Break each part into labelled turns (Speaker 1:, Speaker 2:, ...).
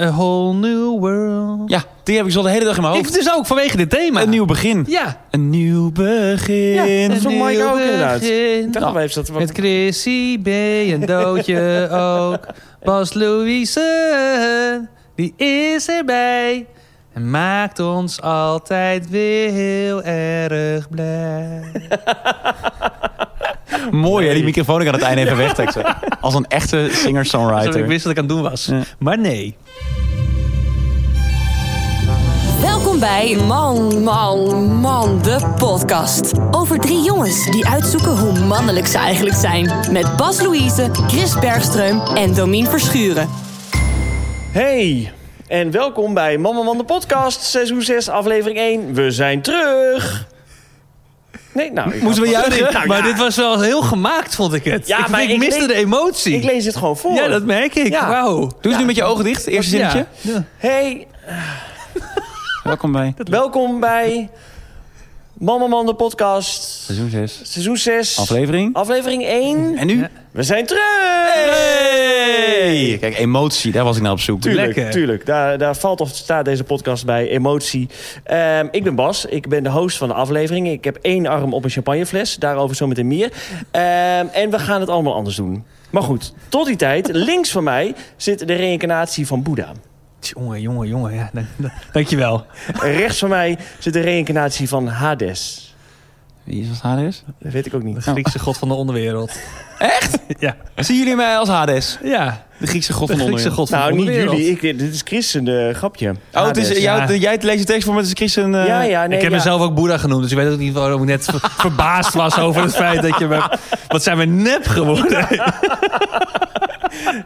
Speaker 1: A whole new world.
Speaker 2: Ja, die heb ik zo de hele dag in mijn
Speaker 1: Ik
Speaker 2: hoofd.
Speaker 1: dus ook vanwege dit thema.
Speaker 2: Een nieuw begin.
Speaker 1: Ja.
Speaker 2: Een nieuw
Speaker 1: ja.
Speaker 2: begin.
Speaker 1: een
Speaker 2: Ja,
Speaker 1: nieuw
Speaker 2: Mike ook inderdaad.
Speaker 1: begin. Nou,
Speaker 2: Ik dacht al even dat er wat...
Speaker 1: Met Chrissy B. en Doodje ook. Bas Louise, die is erbij. En maakt ons altijd weer heel erg blij.
Speaker 2: Mooi hè, die microfoon ik aan het einde even wegtexten. Als een echte
Speaker 1: Alsof ik
Speaker 2: singer-songwriter.
Speaker 1: wist wat ik aan het doen was.
Speaker 2: Ja.
Speaker 1: Maar nee.
Speaker 3: Welkom bij Man, Man, Man, de podcast. Over drie jongens die uitzoeken hoe mannelijk ze eigenlijk zijn. Met Bas Louise, Chris Bergström en Domien Verschuren.
Speaker 4: Hey, en welkom bij Mama Man de podcast, seizoen 6, aflevering 1. We zijn terug. Nee, nou... ik-
Speaker 1: Moesten we juichen?
Speaker 4: Nou,
Speaker 1: maar
Speaker 4: ja.
Speaker 1: dit was wel heel gemaakt, vond ik het.
Speaker 4: Ja,
Speaker 1: ik,
Speaker 4: maar
Speaker 1: ik
Speaker 4: ik
Speaker 1: miste
Speaker 4: lees-
Speaker 1: de emotie.
Speaker 4: Ik lees het gewoon voor.
Speaker 1: ja, dat merk ik.
Speaker 4: Ja.
Speaker 1: Wauw.
Speaker 2: Doe eens nu met je ogen dicht, eerste zinnetje.
Speaker 1: Ja. Ja.
Speaker 4: Hey,
Speaker 2: Welkom bij
Speaker 4: welkom bij Mama Man de podcast,
Speaker 2: seizoen 6,
Speaker 4: seizoen 6,
Speaker 2: aflevering.
Speaker 4: aflevering 1.
Speaker 2: En nu?
Speaker 1: Ja.
Speaker 4: We zijn terug!
Speaker 2: Hey! Kijk, emotie, daar was ik naar op zoek.
Speaker 4: Tuurlijk,
Speaker 1: Lekker.
Speaker 4: tuurlijk. Daar, daar valt of staat deze podcast bij, emotie. Ehm, ik ben Bas, ik ben de host van de aflevering. Ik heb één arm op een champagnefles, daarover zo meteen meer. Ehm, en we gaan het allemaal anders doen. Maar goed, tot die tijd, links van mij zit de reïncarnatie van Boeddha.
Speaker 1: Jongen, jongen, jongen. Ja, dank- dank- dankjewel.
Speaker 4: En rechts van mij zit de reïncarnatie van Hades.
Speaker 2: Wie is als Hades?
Speaker 4: Dat weet ik ook niet.
Speaker 1: De Griekse god van de onderwereld.
Speaker 2: Echt?
Speaker 1: Ja.
Speaker 2: Zien jullie mij als Hades?
Speaker 1: Ja.
Speaker 2: De Griekse god
Speaker 1: De
Speaker 2: van
Speaker 1: Griekse
Speaker 2: onderwereld.
Speaker 1: god van
Speaker 4: Nou,
Speaker 1: de
Speaker 4: niet
Speaker 1: onderwereld.
Speaker 4: jullie. Ik, dit is Chris een eh, grapje.
Speaker 2: Oh, het is,
Speaker 4: Hades.
Speaker 2: jou,
Speaker 1: ja.
Speaker 2: de- jij leest de tekst voor me, het is Chris een... eh,
Speaker 4: Ja, ja, nee,
Speaker 1: ik heb
Speaker 4: ja.
Speaker 1: mezelf ook Boeddha genoemd, dus je weet ook niet waarom ik net ver- verbaasd was over het feit dat je me... Wat zijn we nep geworden?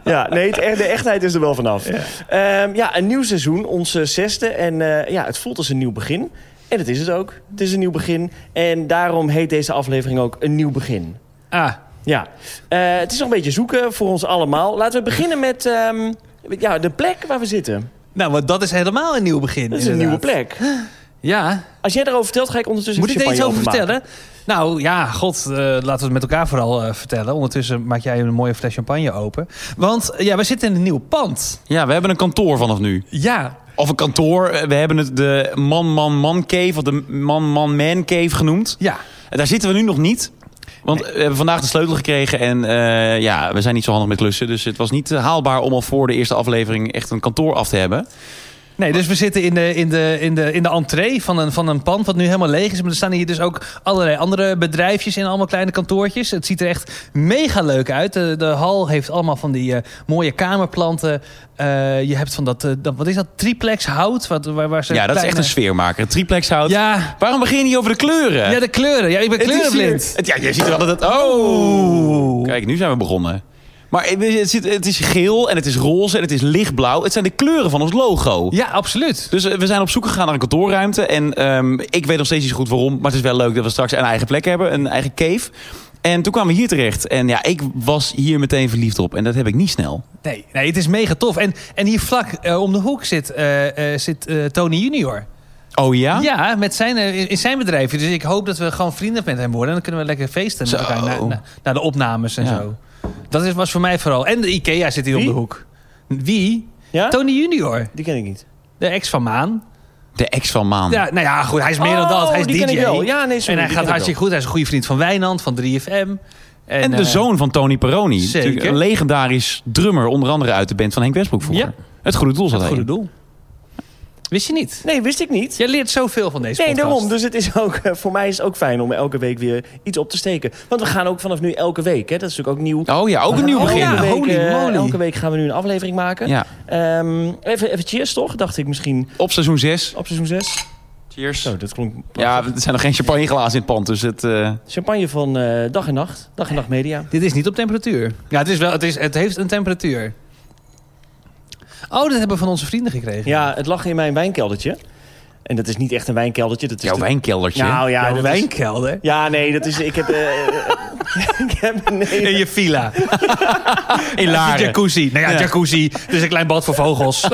Speaker 4: Ja, nee, het, echt- de echtheid is er wel vanaf. Ja, ja een nieuw seizoen, ons eh, zesde. En eh, ja, het voelt als een nieuw begin. En dat is het ook. Het is een nieuw begin. En daarom heet deze aflevering ook Een Nieuw Begin.
Speaker 1: Ah,
Speaker 4: Ja, Eh, het is nog een beetje zoeken voor ons allemaal. Laten we beginnen met ehm, ja, de plek waar we zitten.
Speaker 1: nou, want dat is helemaal een nieuw begin.
Speaker 4: Dat is een nieuwe
Speaker 1: inderdaad.
Speaker 4: plek.
Speaker 1: Ja.
Speaker 4: Als jij daarover vertelt, ga ik ondertussen
Speaker 1: Moet ik
Speaker 4: de
Speaker 1: er iets
Speaker 4: champagne
Speaker 1: over
Speaker 4: openmaken.
Speaker 1: vertellen? Nou ja, god, eh, laten we het met elkaar vooral eh, vertellen. Ondertussen maak jij een mooie fles champagne open. Want eh, ja, we zitten in een nieuw pand.
Speaker 2: Ja, we hebben een kantoor vanaf nu.
Speaker 1: Ja,
Speaker 2: Of een kantoor. eh, We hebben het de man-man-man-cave of de man-man-man-cave genoemd.
Speaker 1: ja.
Speaker 2: En Daar zitten we nu nog niet. Want we hebben vandaag de sleutel gekregen en eh, ja, we zijn niet zo handig met klussen. Dus het was niet eh, haalbaar om al voor de eerste aflevering echt een kantoor af te hebben.
Speaker 1: Nee, dus we zitten in de, in de, in de, in de entree van een, van een pand wat nu helemaal leeg is. Maar er staan hier dus ook allerlei andere bedrijfjes in allemaal kleine kantoortjes. Het ziet er echt mega leuk uit. De, de hal heeft allemaal van die eh, mooie kamerplanten. Eh, je hebt van dat, eh, dat, wat is dat, triplex hout? Wat, waar, waar ze
Speaker 2: ja, dat is echt
Speaker 1: kleine-
Speaker 2: een sfeermaker. Het triplex hout.
Speaker 1: Ja,
Speaker 2: Waarom begin je niet over de kleuren?
Speaker 1: ja, de kleuren. Ja, ik ben
Speaker 2: Het is hier-
Speaker 1: kleurenblind.
Speaker 2: het- ja, je ziet wel dat het... Oh! Kijk, nu zijn we begonnen. Maar het is, het zit- het is geel en het is roze en het is lichtblauw. Het zijn de kleuren van ons logo.
Speaker 1: Ja, absoluut.
Speaker 2: Dus eh, we zijn op zoek gegaan naar een kantoorruimte. En ehm, ik weet nog steeds niet zo goed waarom. Maar het is wel leuk dat we straks een eigen plek hebben. Een eigen cave. En toen kwamen we hier terecht. En ja, ik was hier meteen verliefd op. En dat heb ik niet snel.
Speaker 1: Nee, nee, het is mega tof. En, en hier vlak eh, om de hoek zit, eh, eh, zit eh, Tony Junior.
Speaker 2: Oh
Speaker 4: Ah.
Speaker 2: ja?
Speaker 1: Ja, met zijn, eh, in- in zijn bedrijf. Dus ik hoop dat we gewoon vrienden met hem worden. En dan kunnen we lekker feesten
Speaker 2: Zo.
Speaker 1: met elkaar na, na- na de opnames en
Speaker 2: Ja.
Speaker 1: zo. Dat is, was voor mij vooral. En de Ikea zit hier
Speaker 4: Wie?
Speaker 1: om de hoek. Wie?
Speaker 4: Ja?
Speaker 1: Tony Junior,
Speaker 4: Die ken ik niet.
Speaker 1: de ex van Maan.
Speaker 2: De ex van Maan.
Speaker 1: Ja, nou ja, goed, hij is meer dan
Speaker 4: Oh,
Speaker 1: dat. Hij is
Speaker 4: die
Speaker 1: DJ.
Speaker 4: ken ik wel. Ja,
Speaker 1: en hij
Speaker 4: nee, sorry, die
Speaker 1: gaat
Speaker 4: ken ik wel.
Speaker 1: hartstikke goed. Hij is een goede vriend van Wijnand, van 3FM. En,
Speaker 2: En de
Speaker 1: eh,
Speaker 2: zoon van Tony Peroni.
Speaker 1: Zeker.
Speaker 2: Natuurlijk Een legendarisch drummer. Onder andere uit de band van Henk Westbroek vroeger.
Speaker 1: Ja.
Speaker 2: Het goede doel zat
Speaker 1: Het goede
Speaker 2: hij.
Speaker 1: doel. Wist je niet?
Speaker 4: Nee, wist ik niet.
Speaker 1: Jij leert zoveel van deze
Speaker 4: Nee,
Speaker 1: podcast.
Speaker 4: daarom. Dus het is ook, eh, voor mij is het ook fijn om elke week weer iets op te steken. Want we gaan ook vanaf nu elke week. Hè? Dat is natuurlijk ook nieuw.
Speaker 2: Oh ja, ook een nieuw
Speaker 4: Elke
Speaker 2: begin.
Speaker 1: ja.
Speaker 4: week,
Speaker 1: Holy
Speaker 4: eh,
Speaker 1: moly.
Speaker 4: elke week gaan we nu een aflevering maken.
Speaker 2: Ja.
Speaker 4: Ehm, even, even cheers toch, dacht ik misschien
Speaker 2: Op seizoen 6.
Speaker 4: op seizoen 6.
Speaker 2: Cheers.
Speaker 4: Zo, dat klonk
Speaker 2: Ja,
Speaker 4: ja.
Speaker 2: er zijn nog geen champagneglazen in het pand. Dus het... eh,
Speaker 4: Champagne van eh, dag en nacht. Dag en nacht media.
Speaker 1: Dit is niet op temperatuur. Ja, het, is wel, het, is, het heeft een temperatuur. Oh, dat hebben we van onze vrienden gekregen.
Speaker 4: Ja, het lag in mijn wijnkeldertje. En dat is niet echt een wijnkeldertje. Dat is
Speaker 2: jouw
Speaker 4: de-
Speaker 2: wijnkeldertje.
Speaker 4: Nou ja, dat is-
Speaker 1: wijnkelder.
Speaker 4: Ja, nee, dat is... Ik heb... eh, ik heb nee,
Speaker 1: In je villa.
Speaker 2: in
Speaker 1: De
Speaker 2: Laren.
Speaker 1: jacuzzi. Nou ja, jacuzzi. Dus een klein bad voor vogels.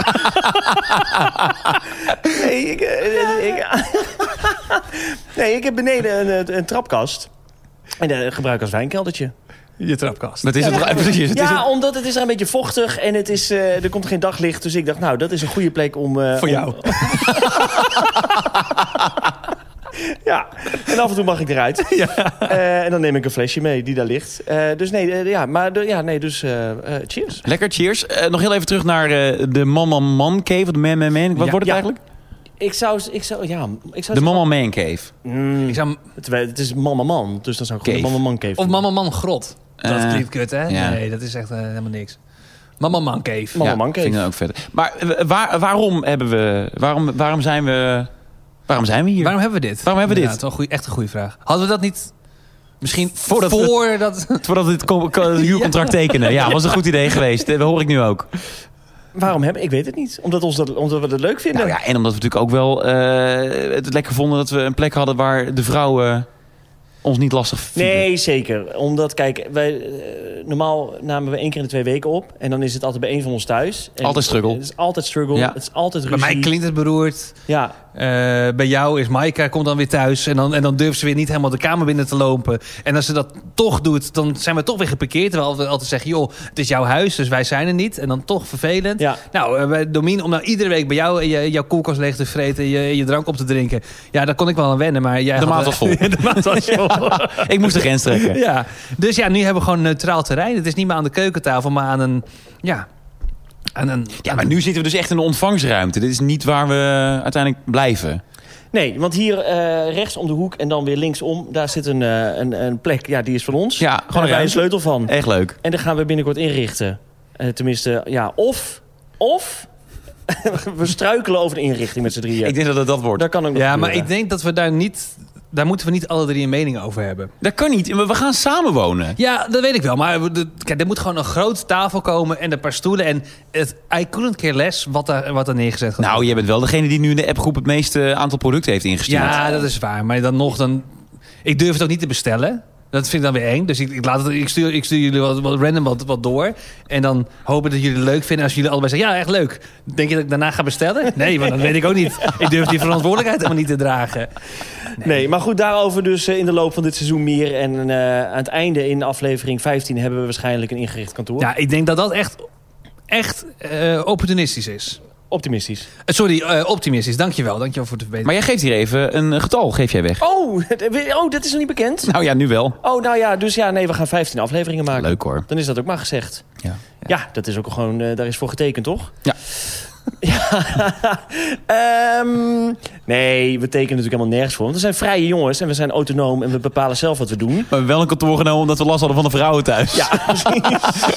Speaker 4: nee, ik, eh, ik- nee, ik heb beneden een, een trapkast. En dat gebruik ik als wijnkeldertje.
Speaker 1: je trapkast.
Speaker 2: Dat is het, ja, precies. Het is
Speaker 4: ja,
Speaker 2: het-
Speaker 4: omdat het is een beetje vochtig en het is, eh, er komt geen daglicht. Dus ik dacht, nou, dat is een goede plek om... eh,
Speaker 1: Voor
Speaker 4: om-
Speaker 1: jou.
Speaker 4: Ja, en af en toe mag ik eruit. Eh, en dan neem ik een flesje mee die daar ligt. Eh, dus nee, eh, ja, maar de- ja, nee, dus eh, eh, cheers.
Speaker 2: Lekker, cheers. Eh, nog heel even terug naar eh, de Man Man Man Cave. Of de Man Man Man. Wat
Speaker 1: Ja.
Speaker 2: wordt het
Speaker 4: Ja.
Speaker 2: eigenlijk?
Speaker 4: Ik zou, ik zou, ja, ik zou...
Speaker 2: De Man Man Man Cave.
Speaker 4: Mm,
Speaker 1: Ik zou,
Speaker 4: het, het is mama man, dus dan zou ik gewoon
Speaker 2: Cave.
Speaker 4: de mama man cave
Speaker 1: of
Speaker 4: doen.
Speaker 1: Mama Man Grot. Dat
Speaker 2: Eh,
Speaker 1: klinkt kut, hè?
Speaker 2: ja.
Speaker 1: Nee, dat is echt eh, helemaal niks. Mama Man Cave.
Speaker 4: Mama Man Cave.
Speaker 2: Vind ik dan ook verder. Maar eh, waar, waarom hebben we... Waarom, waarom zijn we... Waarom zijn we hier?
Speaker 1: Waarom hebben we dit?
Speaker 2: Waarom hebben we dit?
Speaker 1: Inderdaad, wel een goeie- echt een goede vraag. Hadden we dat niet misschien voordat...
Speaker 2: Voordat we- Voordat we dit co- co- huurcontract tekenen. Ja, was een goed idee geweest. Dat hoor ik nu ook.
Speaker 4: Waarom hebben? Ik weet het niet. Omdat, ons dat, omdat we dat leuk vinden.
Speaker 2: Nou ja, en omdat we natuurlijk ook wel eh, het lekker vonden dat we een plek hadden waar de vrouwen ons niet lastig vielen.
Speaker 4: Nee, zeker. Omdat, kijk, wij, eh, normaal namen we één keer in de twee weken op. En dan is het altijd bij één van ons thuis. En
Speaker 2: Altijd struggle.
Speaker 4: Het is altijd struggle.
Speaker 2: Ja.
Speaker 4: Het is altijd
Speaker 1: Bij
Speaker 4: ruzie.
Speaker 1: mij klinkt het beroerd.
Speaker 4: Ja,
Speaker 1: Eh, bij jou is Maaika, komt dan weer thuis. En dan, en dan durft ze weer niet helemaal de kamer binnen te lopen. En als ze dat toch doet, dan zijn we toch weer geparkeerd. Terwijl we altijd zeggen, joh, het is jouw huis, dus wij zijn er niet. En dan toch vervelend.
Speaker 4: ja.
Speaker 1: Nou, eh, bij Domien, om nou iedere week bij jou je, jouw koelkast leeg te vreten... en je, je drank op te drinken. Ja, daar kon ik wel aan wennen, maar jij
Speaker 2: De
Speaker 1: had-
Speaker 2: maat was vol.
Speaker 1: de maat was vol.
Speaker 2: Ik moest de grens trekken.
Speaker 1: Ja, dus ja, nu hebben we gewoon neutraal terrein. Het is niet meer aan de keukentafel, maar aan een... Ja, aan een...
Speaker 2: Ja, maar nu zitten we dus echt in een ontvangstruimte. Dit is niet waar we uiteindelijk blijven.
Speaker 4: Nee, want hier eh, rechts om de hoek en dan weer linksom... daar zit een, eh, een, een plek, ja, die is van ons.
Speaker 2: Ja,
Speaker 4: Daar
Speaker 2: gewoon
Speaker 4: hebben wij
Speaker 2: een
Speaker 4: een
Speaker 2: ruimte.
Speaker 4: sleutel van.
Speaker 2: Echt leuk.
Speaker 4: En dat gaan we binnenkort inrichten. Eh, tenminste, ja, of... Of... we struikelen over de inrichting met z'n drieën.
Speaker 2: Ik denk dat het dat wordt.
Speaker 4: Daar kan ook nog
Speaker 1: Ja, maar ik
Speaker 4: gebeuren.
Speaker 1: denk dat we daar niet... Daar moeten we niet alle drie een mening over hebben.
Speaker 2: Dat kan niet. We we gaan samen wonen.
Speaker 1: Ja, dat weet ik wel. Maar we- de- kijk, er moet gewoon een grote tafel komen en een paar stoelen. En het I couldn't care less wat er, wat er neergezet gaat
Speaker 2: Nou,
Speaker 1: worden.
Speaker 2: jij bent wel degene die nu in de appgroep het meeste aantal producten heeft ingestuurd.
Speaker 1: ja, dat is waar. Maar dan nog, dan, ik durf het ook niet te bestellen. Dat vind ik dan weer eng. Dus ik, ik, laat het, ik, stuur, ik stuur jullie wat, wat random wat, wat door. En dan hopen dat jullie het leuk vinden. Als jullie allebei zeggen, ja, echt leuk. Denk je dat ik daarna ga bestellen? Nee, want dat weet ik ook niet. Ik durf die verantwoordelijkheid helemaal niet te dragen.
Speaker 4: Nee, maar goed, daarover dus eh, in de loop van dit seizoen meer. En eh, aan het einde in aflevering 15 hebben we waarschijnlijk een ingericht kantoor.
Speaker 1: Ja, ik denk dat dat echt, echt eh, opportunistisch is.
Speaker 4: Optimistisch.
Speaker 1: Eh, sorry, eh, optimistisch. Dankjewel. Dankjewel voor de verbetering.
Speaker 2: Maar jij geeft hier even een getal, geef jij weg.
Speaker 4: Oh, oh, dat is nog niet bekend.
Speaker 2: Nou ja, nu wel.
Speaker 4: Oh, nou ja, dus ja, nee, we gaan 15 afleveringen maken.
Speaker 2: Leuk hoor.
Speaker 4: Dan is dat ook maar gezegd.
Speaker 2: Ja.
Speaker 4: Ja, dat is ook gewoon, eh, daar is voor getekend, toch?
Speaker 2: Ja.
Speaker 4: Ja. Ehm, nee, we tekenen natuurlijk helemaal nergens voor. Want we zijn vrije jongens en we zijn autonoom en we bepalen zelf wat we doen.
Speaker 2: Maar we hebben wel een kantoor genomen omdat we last hadden van de vrouwen thuis. Ja,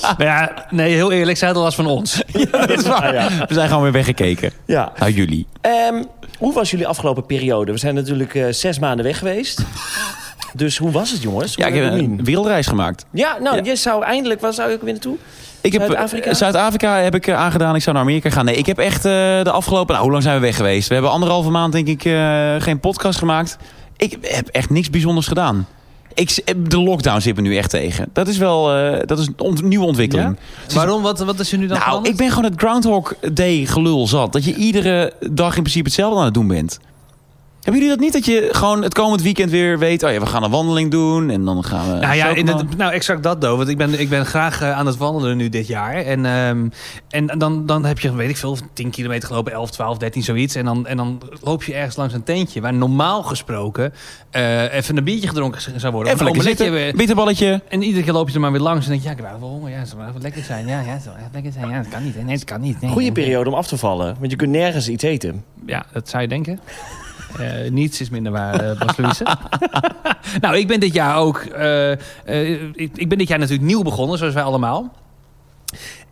Speaker 1: Nou ja, nee, heel eerlijk, zij hadden last van ons.
Speaker 2: dat is waar. We zijn gewoon weer weggekeken.
Speaker 4: Ja.
Speaker 2: Nou, jullie.
Speaker 4: Ehm, hoe was jullie afgelopen periode? We zijn natuurlijk eh, zes maanden weg geweest. Dus hoe was het, jongens?
Speaker 2: Ja, ik
Speaker 4: Hoe-
Speaker 2: heb
Speaker 4: hoe
Speaker 2: een
Speaker 4: mien?
Speaker 2: wereldreis gemaakt.
Speaker 4: ja nou,
Speaker 2: Ja.
Speaker 4: je zou eindelijk... Waar zou je ook weer naartoe?
Speaker 2: Ik heb,
Speaker 4: Zuid-Afrika?
Speaker 2: eh, Zuid-Afrika heb ik eh, aangedaan. Ik zou naar Amerika gaan. Nee, ik heb echt eh, de afgelopen... Nou, hoe lang zijn we weg geweest? We hebben anderhalve maand, denk ik, eh, geen podcast gemaakt. Ik heb echt niks bijzonders gedaan. Ik, s- de lockdown zit me nu echt tegen. Dat is wel... eh, dat is een ont- nieuwe ontwikkeling.
Speaker 1: Waarom? Wat, wat is er nu dan
Speaker 2: Nou,
Speaker 1: veranderd?
Speaker 2: ik ben gewoon het Groundhog Day gelul zat. Dat je iedere dag in principe hetzelfde aan het doen bent. Hebben jullie dat niet? Dat je gewoon het komend weekend weer weet... oh ja, we gaan een wandeling doen en dan gaan we...
Speaker 1: Nou ja,
Speaker 2: zo
Speaker 1: in
Speaker 2: komen.
Speaker 1: het, nou exact dat, Do. Want ik ben, ik ben graag eh, aan het wandelen nu dit jaar. En, ehm, en dan, dan heb je, weet ik veel, 10 kilometer gelopen, 11, 12, 13, zoiets. En dan, en dan loop je ergens langs een tentje waar normaal gesproken eh, even een biertje gedronken z- zou worden.
Speaker 2: Even
Speaker 1: Of een
Speaker 2: lekker
Speaker 1: omeletje.
Speaker 2: zitten, bitterballetje.
Speaker 1: En iedere keer loop je er maar weer langs en denk je, ja, ik heb wel honger. Ja, het zou wel even lekker zijn. Ja, ja, het zou echt lekker zijn. Ja, dat kan niet. hè. Nee, dat kan niet. Nee,
Speaker 4: Goede
Speaker 1: nee, nee.
Speaker 4: periode om af te vallen. Want je kunt nergens iets eten.
Speaker 1: Ja, dat zou je denken. Eh, niets is minder waar, eh Bas Louise. nou, ik ben dit jaar ook... eh, eh, ik, ik ben dit jaar natuurlijk nieuw begonnen, zoals wij allemaal.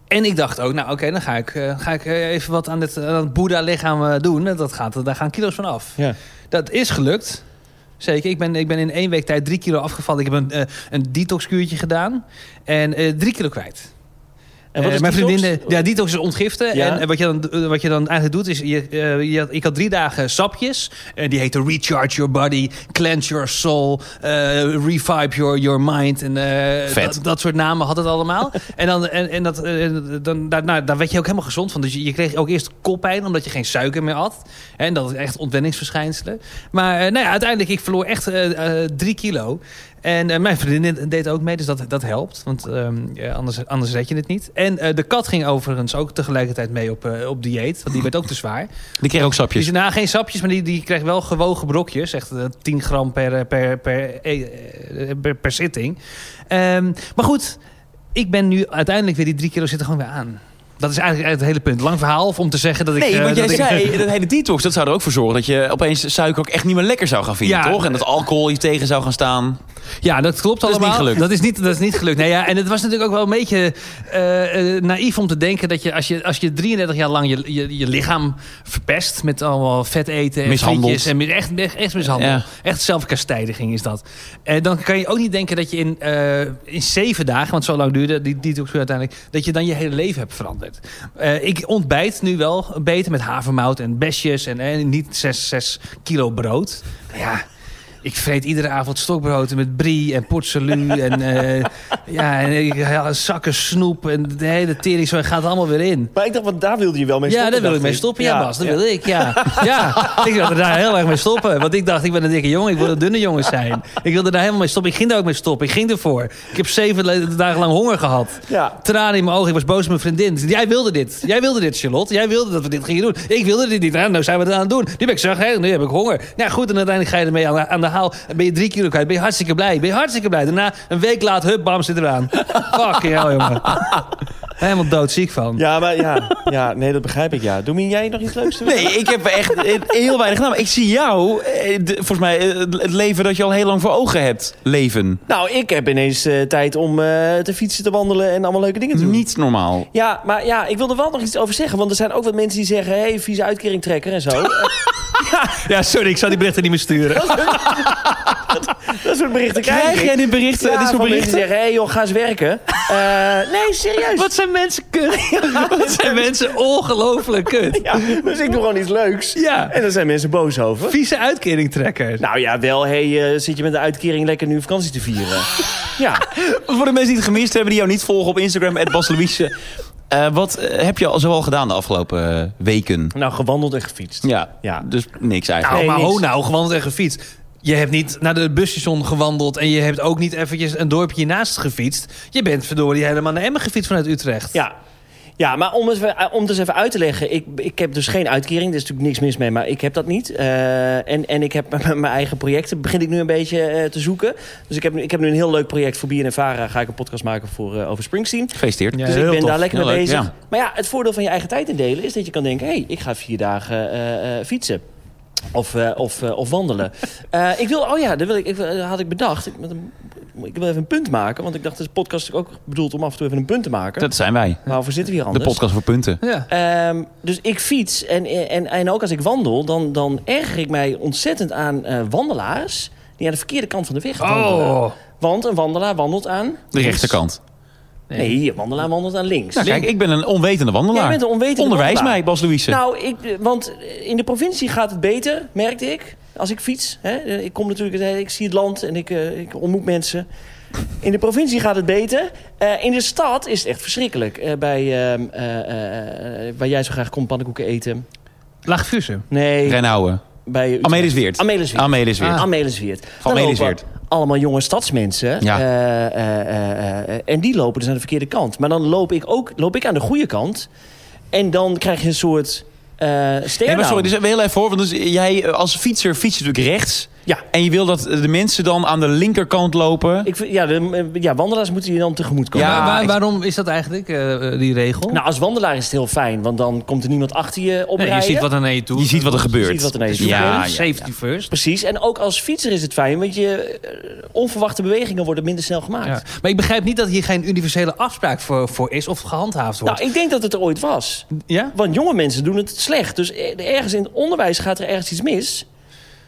Speaker 1: En ik dacht ook, nou oké, dan ga ik, eh, ga ik eh, even wat aan het, aan het Boeddha-lichaam eh, doen. Dat gaat, daar gaan kilo's van af.
Speaker 4: Ja.
Speaker 1: Dat is gelukt. Zeker. Ik ben, ik ben in één week tijd drie kilo afgevallen. Ik heb een, eh, een detoxkuurtje gedaan. En eh, drie kilo kwijt.
Speaker 4: En wat
Speaker 1: Eh,
Speaker 4: is
Speaker 1: mijn
Speaker 4: detox?
Speaker 1: vriendin, ja, detox is ontgiften.
Speaker 4: Ja.
Speaker 1: En eh, wat je, dan, eh, wat je dan eigenlijk doet, is... Je, eh, je had- ik had drie dagen sapjes. en die heten Recharge Your Body, Cleanse Your Soul, eh, Revive Your, your Mind. En, eh,
Speaker 2: Vet.
Speaker 1: Dat, dat soort namen had het allemaal. en dan, en, en dat, eh, dan, daar, nou, daar werd je ook helemaal gezond van. Dus je, je kreeg ook eerst koppijn, omdat je geen suiker meer had. En dat is echt ontwenningsverschijnselen. Maar eh, nou ja, uiteindelijk, ik verloor echt eh, eh, drie kilo. En eh, mijn vriendin deed ook mee, dus dat, dat helpt. Want ehm, ja, anders, anders red je het niet. En eh, de kat ging overigens ook tegelijkertijd mee op, eh, op dieet. Want die werd ook te zwaar.
Speaker 2: Die kreeg ook
Speaker 1: Die
Speaker 2: sapjes.
Speaker 1: is nou, geen sapjes, maar die, die kreeg wel gewogen brokjes. Echt eh, 10 gram per, eh, per, per, eh, eh, per, per zitting. Ehm, maar goed, ik ben nu uiteindelijk weer die drie kilo zitten gewoon weer aan. Dat is eigenlijk het hele punt. Lang verhaal of om te zeggen dat ik...
Speaker 2: Nee,
Speaker 1: eh,
Speaker 2: want jij
Speaker 1: dat ik-
Speaker 2: zei, dat hele detox, dat zou er ook voor zorgen... dat je opeens suiker ook echt niet meer lekker zou gaan vinden,
Speaker 1: Ja.
Speaker 2: toch? En dat alcohol je tegen zou gaan staan.
Speaker 1: Ja, dat klopt
Speaker 2: Dat is
Speaker 1: allemaal.
Speaker 2: niet gelukt.
Speaker 1: Dat is niet, dat is niet gelukt. Nee, ja, en het was natuurlijk ook wel een beetje eh, eh, naïef om te denken dat je als je, als je 33 jaar lang je, je, je lichaam verpest met allemaal vet eten en
Speaker 2: Mishandeld.
Speaker 1: frietjes en mi- echt, echt, echt mishandeld.
Speaker 2: Ja.
Speaker 1: Echt zelfkastijding is dat. En dan kan je ook niet denken dat je in, eh, in zeven dagen, want zo lang duurde die detox uiteindelijk, dat je dan je hele leven hebt veranderd. Eh, ik ontbijt nu wel beter met havermout en besjes en eh, niet 6, 6 kilo brood. Ja, ik vreet iedere avond stokbrood met brie en portsalu en, eh, ja, en ik, ja, zakken snoep en de hele tering zo gaat er allemaal weer in.
Speaker 4: Maar ik dacht, want daar wilde je wel mee
Speaker 1: Ja,
Speaker 4: stoppen.
Speaker 1: daar wil ik
Speaker 4: dacht
Speaker 1: mee stoppen. Ja, Bas, dat
Speaker 4: ja.
Speaker 1: wil ik. Ja. ja, ik wilde daar heel erg mee stoppen. Want ik dacht, ik ben een dikke jongen, ik wil een dunne jongen zijn. Ik wilde daar helemaal mee stoppen. Ik ging daar ook mee stoppen. Ik ging ervoor. Ik heb zeven le- dagen lang honger gehad.
Speaker 4: Ja.
Speaker 1: Tranen in mijn ogen. Ik was boos op mijn vriendin. Jij wilde dit. Jij wilde dit, Charlotte. Jij wilde dat we dit gingen doen. Ik wilde dit niet. Nou, nou zijn we het aan het doen. Nu ben ik zagrijnig. Nu heb ik honger. Nou goed, en uiteindelijk ga je ermee aan, de- aan de haal. Dan Ben je drie kilo kwijt. Ben je hartstikke blij. Ben je hartstikke blij. Daarna, een week later, hup, bam, zit eraan. Fucking hell, jongen. Helemaal doodziek van.
Speaker 4: Ja, maar ja, ja, nee, dat begrijp ik. Ja. Doemien, jij nog iets leuks te doen?
Speaker 2: Nee, ik heb echt eh, heel weinig gedaan. Maar Ik zie jou, eh, de- volgens mij, eh, het leven dat je al heel lang voor ogen hebt. Leven.
Speaker 4: Nou, ik heb ineens eh, tijd om eh, te fietsen, te wandelen en allemaal leuke dingen te doen.
Speaker 2: Niet normaal.
Speaker 4: Ja, maar ja, ik wil er wel nog iets over zeggen. Want er zijn ook wat mensen die zeggen... hé, hey, vieze uitkering trekker en zo. Eh,
Speaker 1: Ja, sorry, ik zal die berichten niet meer sturen.
Speaker 4: dat soort berichten krijg,
Speaker 2: Krijg
Speaker 4: ik.
Speaker 2: jij dit bericht?
Speaker 4: Ja,
Speaker 2: dit soort
Speaker 4: van mensen
Speaker 2: berichten?
Speaker 4: die zeggen... hé hey, joh, ga eens werken. Eh, nee, serieus.
Speaker 1: Wat zijn mensen kut? Wat zijn mensen ongelooflijk kut?
Speaker 4: Ja, dus ik doe gewoon iets leuks.
Speaker 1: Ja.
Speaker 4: En daar zijn mensen boos over.
Speaker 1: Vieze uitkeringtrekkers.
Speaker 4: Nou ja, wel, hé, hey, eh, zit je met de uitkering lekker nu vakantie te vieren? ja.
Speaker 2: Voor de mensen die het gemist hebben, die jou niet volgen op Instagram, @basluise. Eh, wat eh, heb je al zoal gedaan de afgelopen eh, weken?
Speaker 4: Nou, gewandeld en gefietst.
Speaker 2: Ja,
Speaker 4: Ja.
Speaker 2: dus niks
Speaker 1: Nou,
Speaker 2: eigenlijk.
Speaker 4: Nee,
Speaker 1: maar
Speaker 4: niks.
Speaker 1: ho nou, gewandeld en gefietst. Je hebt niet naar de busstation gewandeld en je hebt ook niet eventjes een dorpje naast gefietst. Je bent verdorie helemaal naar Emmen gefietst vanuit Utrecht.
Speaker 4: Ja. Ja, maar om het, eh, om het eens even uit te leggen. Ik, ik heb dus geen uitkering. Er is natuurlijk niks mis mee, maar ik heb dat niet. Eh, en, en ik heb met mijn eigen projecten begin ik nu een beetje eh, te zoeken. Dus ik heb, nu, ik heb nu een heel leuk project voor BNNVARA. Ga ik een podcast maken voor, eh, over Springsteen.
Speaker 2: Gefeliciteerd.
Speaker 1: Ja,
Speaker 4: dus ik
Speaker 1: heel
Speaker 4: ben
Speaker 1: tof.
Speaker 4: daar lekker
Speaker 2: Heel
Speaker 4: mee
Speaker 2: leuk,
Speaker 4: bezig.
Speaker 2: ja.
Speaker 4: Maar ja, het voordeel van je eigen tijd indelen is dat je kan denken... hé, hey, ik ga vier dagen eh, eh, fietsen. Of, eh, of, eh, of wandelen. Eh, ik wil, oh ja, dat, wil ik, ik, dat had ik bedacht. Ik, met een- ik wil even een punt maken. Want ik dacht, deze podcast is ook bedoeld om af en toe even een punt te maken.
Speaker 2: Dat zijn wij.
Speaker 4: Maar waarvoor zitten we
Speaker 2: De
Speaker 4: hier anders?
Speaker 2: podcast voor punten.
Speaker 1: Ja.
Speaker 4: Ehm, dus ik fiets en, en, en ook als ik wandel, dan, dan erger ik mij ontzettend aan eh, wandelaars die aan de verkeerde kant van de weg wandelen.
Speaker 1: Oh.
Speaker 4: Want een wandelaar wandelt aan.
Speaker 2: De rechterkant.
Speaker 4: Nee, een wandelaar wandelt aan links.
Speaker 2: Nou, kijk, ik ben een onwetende wandelaar.
Speaker 4: Jij bent een onwetende
Speaker 2: Onderwijs
Speaker 4: wandelaar.
Speaker 2: mij, Bas Louise.
Speaker 4: Nou, ik, want eh, in de provincie gaat het beter, merkte ik. Als ik fiets. Hè? Eh, Ik kom natuurlijk, ik zie het land en ik, eh, ik ontmoet mensen. In de provincie gaat het beter. Eh, in de stad is het echt verschrikkelijk. Eh, bij, ehm, eh, eh, waar jij zo graag komt pannenkoeken eten.
Speaker 1: Laag vuursen.
Speaker 4: Nee,
Speaker 2: Renauwen.
Speaker 4: bij Utrecht.
Speaker 2: Amelis Weert.
Speaker 4: Amelisweert.
Speaker 2: Amelis Weert.
Speaker 1: Ah.
Speaker 4: Amelisweert.
Speaker 2: Van
Speaker 4: Dan
Speaker 2: Amelisweert.
Speaker 4: lopen Allemaal jonge stadsmensen.
Speaker 2: Ja.
Speaker 4: Eh, eh, eh, eh, en die lopen dus aan de verkeerde kant. Maar dan loop ik ook loop ik aan de goede kant. En dan krijg je een soort eh
Speaker 2: Nee, maar sorry,
Speaker 4: stairdown.
Speaker 2: dus heel even voor. Want dus jij eh, als fietser fiets je natuurlijk rechts.
Speaker 4: Ja.
Speaker 2: En je wil dat eh, de mensen dan aan de linkerkant lopen.
Speaker 4: Ik vind- ja, de, eh, ja, wandelaars moeten je dan tegemoet komen.
Speaker 2: Ja,
Speaker 1: Ja,
Speaker 2: ik-
Speaker 1: waarom is dat eigenlijk, eh, eh, die regel?
Speaker 4: Nou, als wandelaar is het heel fijn, want dan komt er niemand achter je
Speaker 1: Nee,
Speaker 4: oprijden.
Speaker 1: je ziet wat er naar je toe
Speaker 2: Je ziet wat er gebeurt.
Speaker 4: ziet wat er naar je toe
Speaker 2: ja,
Speaker 4: komt.
Speaker 2: ja, ja.
Speaker 1: Safety first.
Speaker 4: Precies, en ook als fietser is het fijn, want je eh, onverwachte bewegingen worden minder snel gemaakt.
Speaker 1: Ja. Maar ik begrijp niet dat hier geen universele afspraak voor, voor is of gehandhaafd wordt.
Speaker 4: Nou, ik denk dat het er ooit was.
Speaker 1: ja?
Speaker 4: Want jonge mensen doen het slecht. Dus ergens in het onderwijs gaat er ergens iets mis.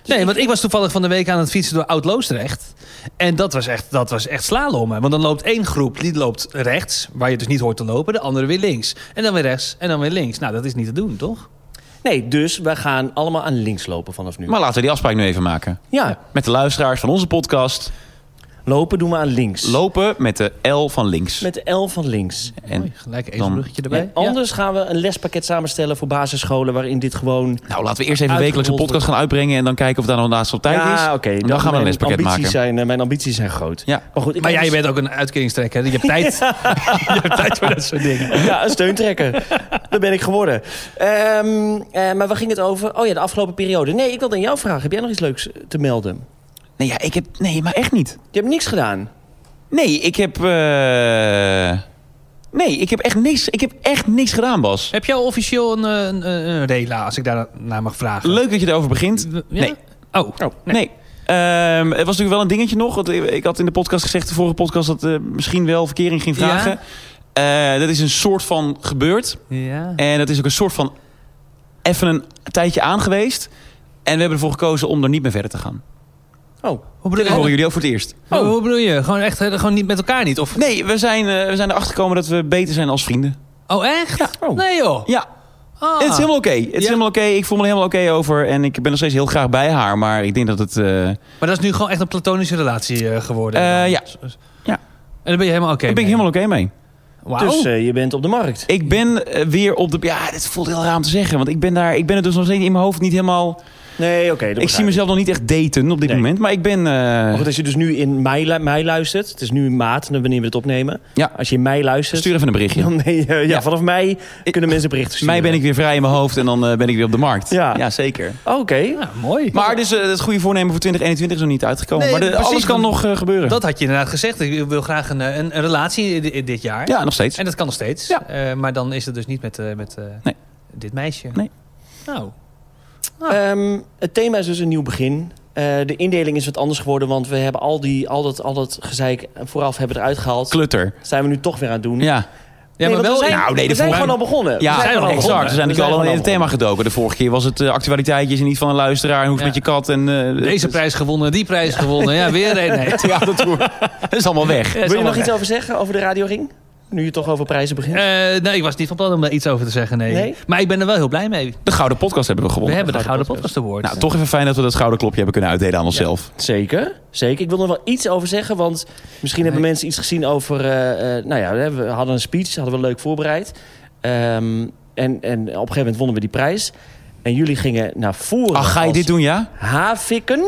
Speaker 4: Dus
Speaker 1: Nee, want ik was toevallig van de week aan het fietsen door Oud-Loosdrecht. En dat was echt, dat was echt slalommen. Want dan loopt één groep, die loopt rechts, waar je dus niet hoort te lopen. De andere weer links. En dan weer rechts, en dan weer links. Nou, dat is niet te doen, toch?
Speaker 4: Nee, dus we gaan allemaal aan links lopen vanaf nu.
Speaker 2: Maar laten we die afspraak nu even maken.
Speaker 4: ja,
Speaker 2: Met de luisteraars van onze podcast.
Speaker 4: Lopen doen we aan links.
Speaker 2: Lopen met de L van links.
Speaker 4: Met de L van links.
Speaker 1: Mooi,
Speaker 2: En,
Speaker 1: gelijk
Speaker 2: dan-
Speaker 1: een bruggetje erbij. Ja.
Speaker 4: Anders gaan we een lespakket samenstellen voor basisscholen... waarin dit gewoon...
Speaker 2: nou, laten we eerst even wekelijks een
Speaker 4: Uitgerold
Speaker 2: podcast gaan uitbrengen... en dan kijken of daar nog naast op tijd is.
Speaker 4: ja, oké.
Speaker 2: En dan, gaan we een
Speaker 4: mijn
Speaker 2: lespakket
Speaker 4: ambities
Speaker 2: maken.
Speaker 4: Zijn, eh, mijn ambities zijn groot.
Speaker 2: Ja.
Speaker 4: Maar goed, ik
Speaker 1: Maar
Speaker 4: heb
Speaker 1: jij
Speaker 4: dus-
Speaker 1: bent ook een uitkeringstrekker. hè? Je hebt tijd, je hebt tijd voor dat soort dingen.
Speaker 4: Ja, een steuntrekker. Dat ben ik geworden. Ehm, eh, maar waar ging het over? Oh ja, de afgelopen periode. Nee, ik wilde aan jou vragen. Heb jij nog iets leuks te melden?
Speaker 2: Nee, ja, ik heb, nee, maar echt niet.
Speaker 4: Je hebt niks gedaan.
Speaker 2: Nee, ik heb... eh, Nee, ik heb echt niks, ik heb echt niks gedaan, Bas.
Speaker 1: Heb jij officieel een, eh, een, een, een rela, als ik daar naar mag vragen?
Speaker 2: Leuk dat je erover begint.
Speaker 1: Ja?
Speaker 2: Nee.
Speaker 1: Oh,
Speaker 2: Nee. Ehm, er was natuurlijk wel een dingetje nog. Want ik ik had in de podcast gezegd, de vorige podcast, dat eh, misschien wel verkering ging
Speaker 1: Ja.
Speaker 2: vragen. Eh, dat is een soort van gebeurd.
Speaker 1: ja.
Speaker 2: En dat is ook een soort van even een tijdje aan geweest. En we hebben ervoor gekozen om er niet meer verder te gaan.
Speaker 4: Oh,
Speaker 1: Hoe bedoel
Speaker 2: Dit
Speaker 1: je?
Speaker 2: horen jullie ook voor het eerst.
Speaker 1: Oh, hoe bedoel je? Gewoon echt eh, gewoon niet met elkaar niet? Of...
Speaker 2: Nee, we zijn, eh, we zijn erachter gekomen dat we beter zijn als vrienden.
Speaker 1: Oh, echt?
Speaker 4: Oh.
Speaker 1: Nee joh.
Speaker 2: Ja,
Speaker 1: Ah.
Speaker 2: het is helemaal oké. Het is
Speaker 1: Ja.
Speaker 2: helemaal oké. Ik voel me er helemaal oké over. En ik ben nog steeds heel graag bij haar. Maar ik denk dat het... eh,
Speaker 1: Maar dat is nu gewoon echt een platonische relatie eh, geworden?
Speaker 2: Eh, ja. Ja.
Speaker 1: En daar ben je helemaal oké
Speaker 2: daar ben ik
Speaker 1: mee?
Speaker 2: helemaal oké mee.
Speaker 1: Wauw.
Speaker 4: dus eh, je bent op de markt.
Speaker 2: Ik ben eh, weer op de... Ja, dit voelt heel raar om te zeggen. Want ik ben, daar, ik ben het dus nog steeds in mijn hoofd niet helemaal...
Speaker 4: Nee, oké. dat
Speaker 2: ik
Speaker 4: begrijp
Speaker 2: zie mezelf nog niet echt daten op dit
Speaker 4: Nee.
Speaker 2: moment. Maar ik ben... eh,
Speaker 4: Maar goed, als je dus nu in mei, lu- mei luistert, het is nu in maart wanneer we het opnemen.
Speaker 2: Ja.
Speaker 4: Als je in mei luistert,
Speaker 2: stuur even een berichtje.
Speaker 4: dan nee, eh, ja,
Speaker 2: Ja.
Speaker 4: vanaf mei
Speaker 2: Ik-
Speaker 4: kunnen mensen berichten sturen.
Speaker 2: Mij ben ik weer vrij in mijn hoofd en dan eh, ben ik weer op de markt.
Speaker 4: Ja.
Speaker 2: zeker.
Speaker 4: Oh, Oké.
Speaker 1: Ja, mooi.
Speaker 2: Maar dus eh, het goede voornemen voor 2021 is nog niet uitgekomen.
Speaker 1: Nee,
Speaker 2: maar de-
Speaker 1: precies,
Speaker 2: alles kan
Speaker 1: want
Speaker 2: nog eh, gebeuren.
Speaker 1: Dat had je inderdaad gezegd. Ik wil graag een, eh, een, een relatie i- i- dit jaar.
Speaker 2: ja, nog steeds.
Speaker 1: En dat kan nog steeds.
Speaker 2: Ja.
Speaker 1: Eh, maar dan is het dus niet met, eh, met eh,
Speaker 2: Nee.
Speaker 1: dit meisje.
Speaker 2: Nee.
Speaker 1: Nou,
Speaker 4: Ehm, het thema is dus een nieuw begin. Eh, de indeling is wat anders geworden, want we hebben al, die, al, dat, al dat gezeik vooraf hebben we eruit gehaald.
Speaker 2: Klutter.
Speaker 4: zijn we nu toch weer aan het doen.
Speaker 2: Ja,
Speaker 1: ja,
Speaker 4: Nee,
Speaker 1: maar
Speaker 4: want
Speaker 1: wel
Speaker 4: we zijn,
Speaker 2: Nou, nee, de
Speaker 4: we zijn
Speaker 2: vorige-
Speaker 4: gewoon al begonnen.
Speaker 2: ja
Speaker 4: we zijn gewoon al
Speaker 2: exact.
Speaker 4: begonnen.
Speaker 2: We zijn natuurlijk al in
Speaker 4: gewoon
Speaker 2: het thema gedoken. De vorige keer was het eh, actualiteitjes en niet van een luisteraar. En hoe het
Speaker 1: Ja.
Speaker 2: met je kat en... eh,
Speaker 1: deze prijs gewonnen, die prijs gewonnen. Ja, weer een. Nee.
Speaker 2: Ja, dat hoor. Dat is allemaal weg.
Speaker 1: Ja, is
Speaker 4: Wil je
Speaker 1: allemaal
Speaker 4: nog iets over zeggen over de radioring? Nu je toch over prijzen begint.
Speaker 1: Eh, nee, ik was niet van plan om daar iets over te zeggen. Nee.
Speaker 4: Nee?
Speaker 1: Maar ik ben er wel heel blij mee.
Speaker 2: De Gouden Podcast hebben we
Speaker 1: We
Speaker 2: gewonnen.
Speaker 1: hebben de Gouden Podcast Award.
Speaker 2: Nou, toch even fijn dat we dat gouden klopje hebben kunnen uitdelen aan onszelf.
Speaker 4: Zeker, zeker. Ik wil er wel iets over zeggen, want misschien hebben
Speaker 1: Nee.
Speaker 4: mensen iets gezien over... eh, eh, nou ja, hè, we hadden een speech, hadden we leuk voorbereid. Ehm, en, en op een gegeven moment wonnen we die prijs. En jullie gingen naar voren
Speaker 2: Ach, ga je
Speaker 4: als
Speaker 2: dit doen, ja?
Speaker 4: havikken.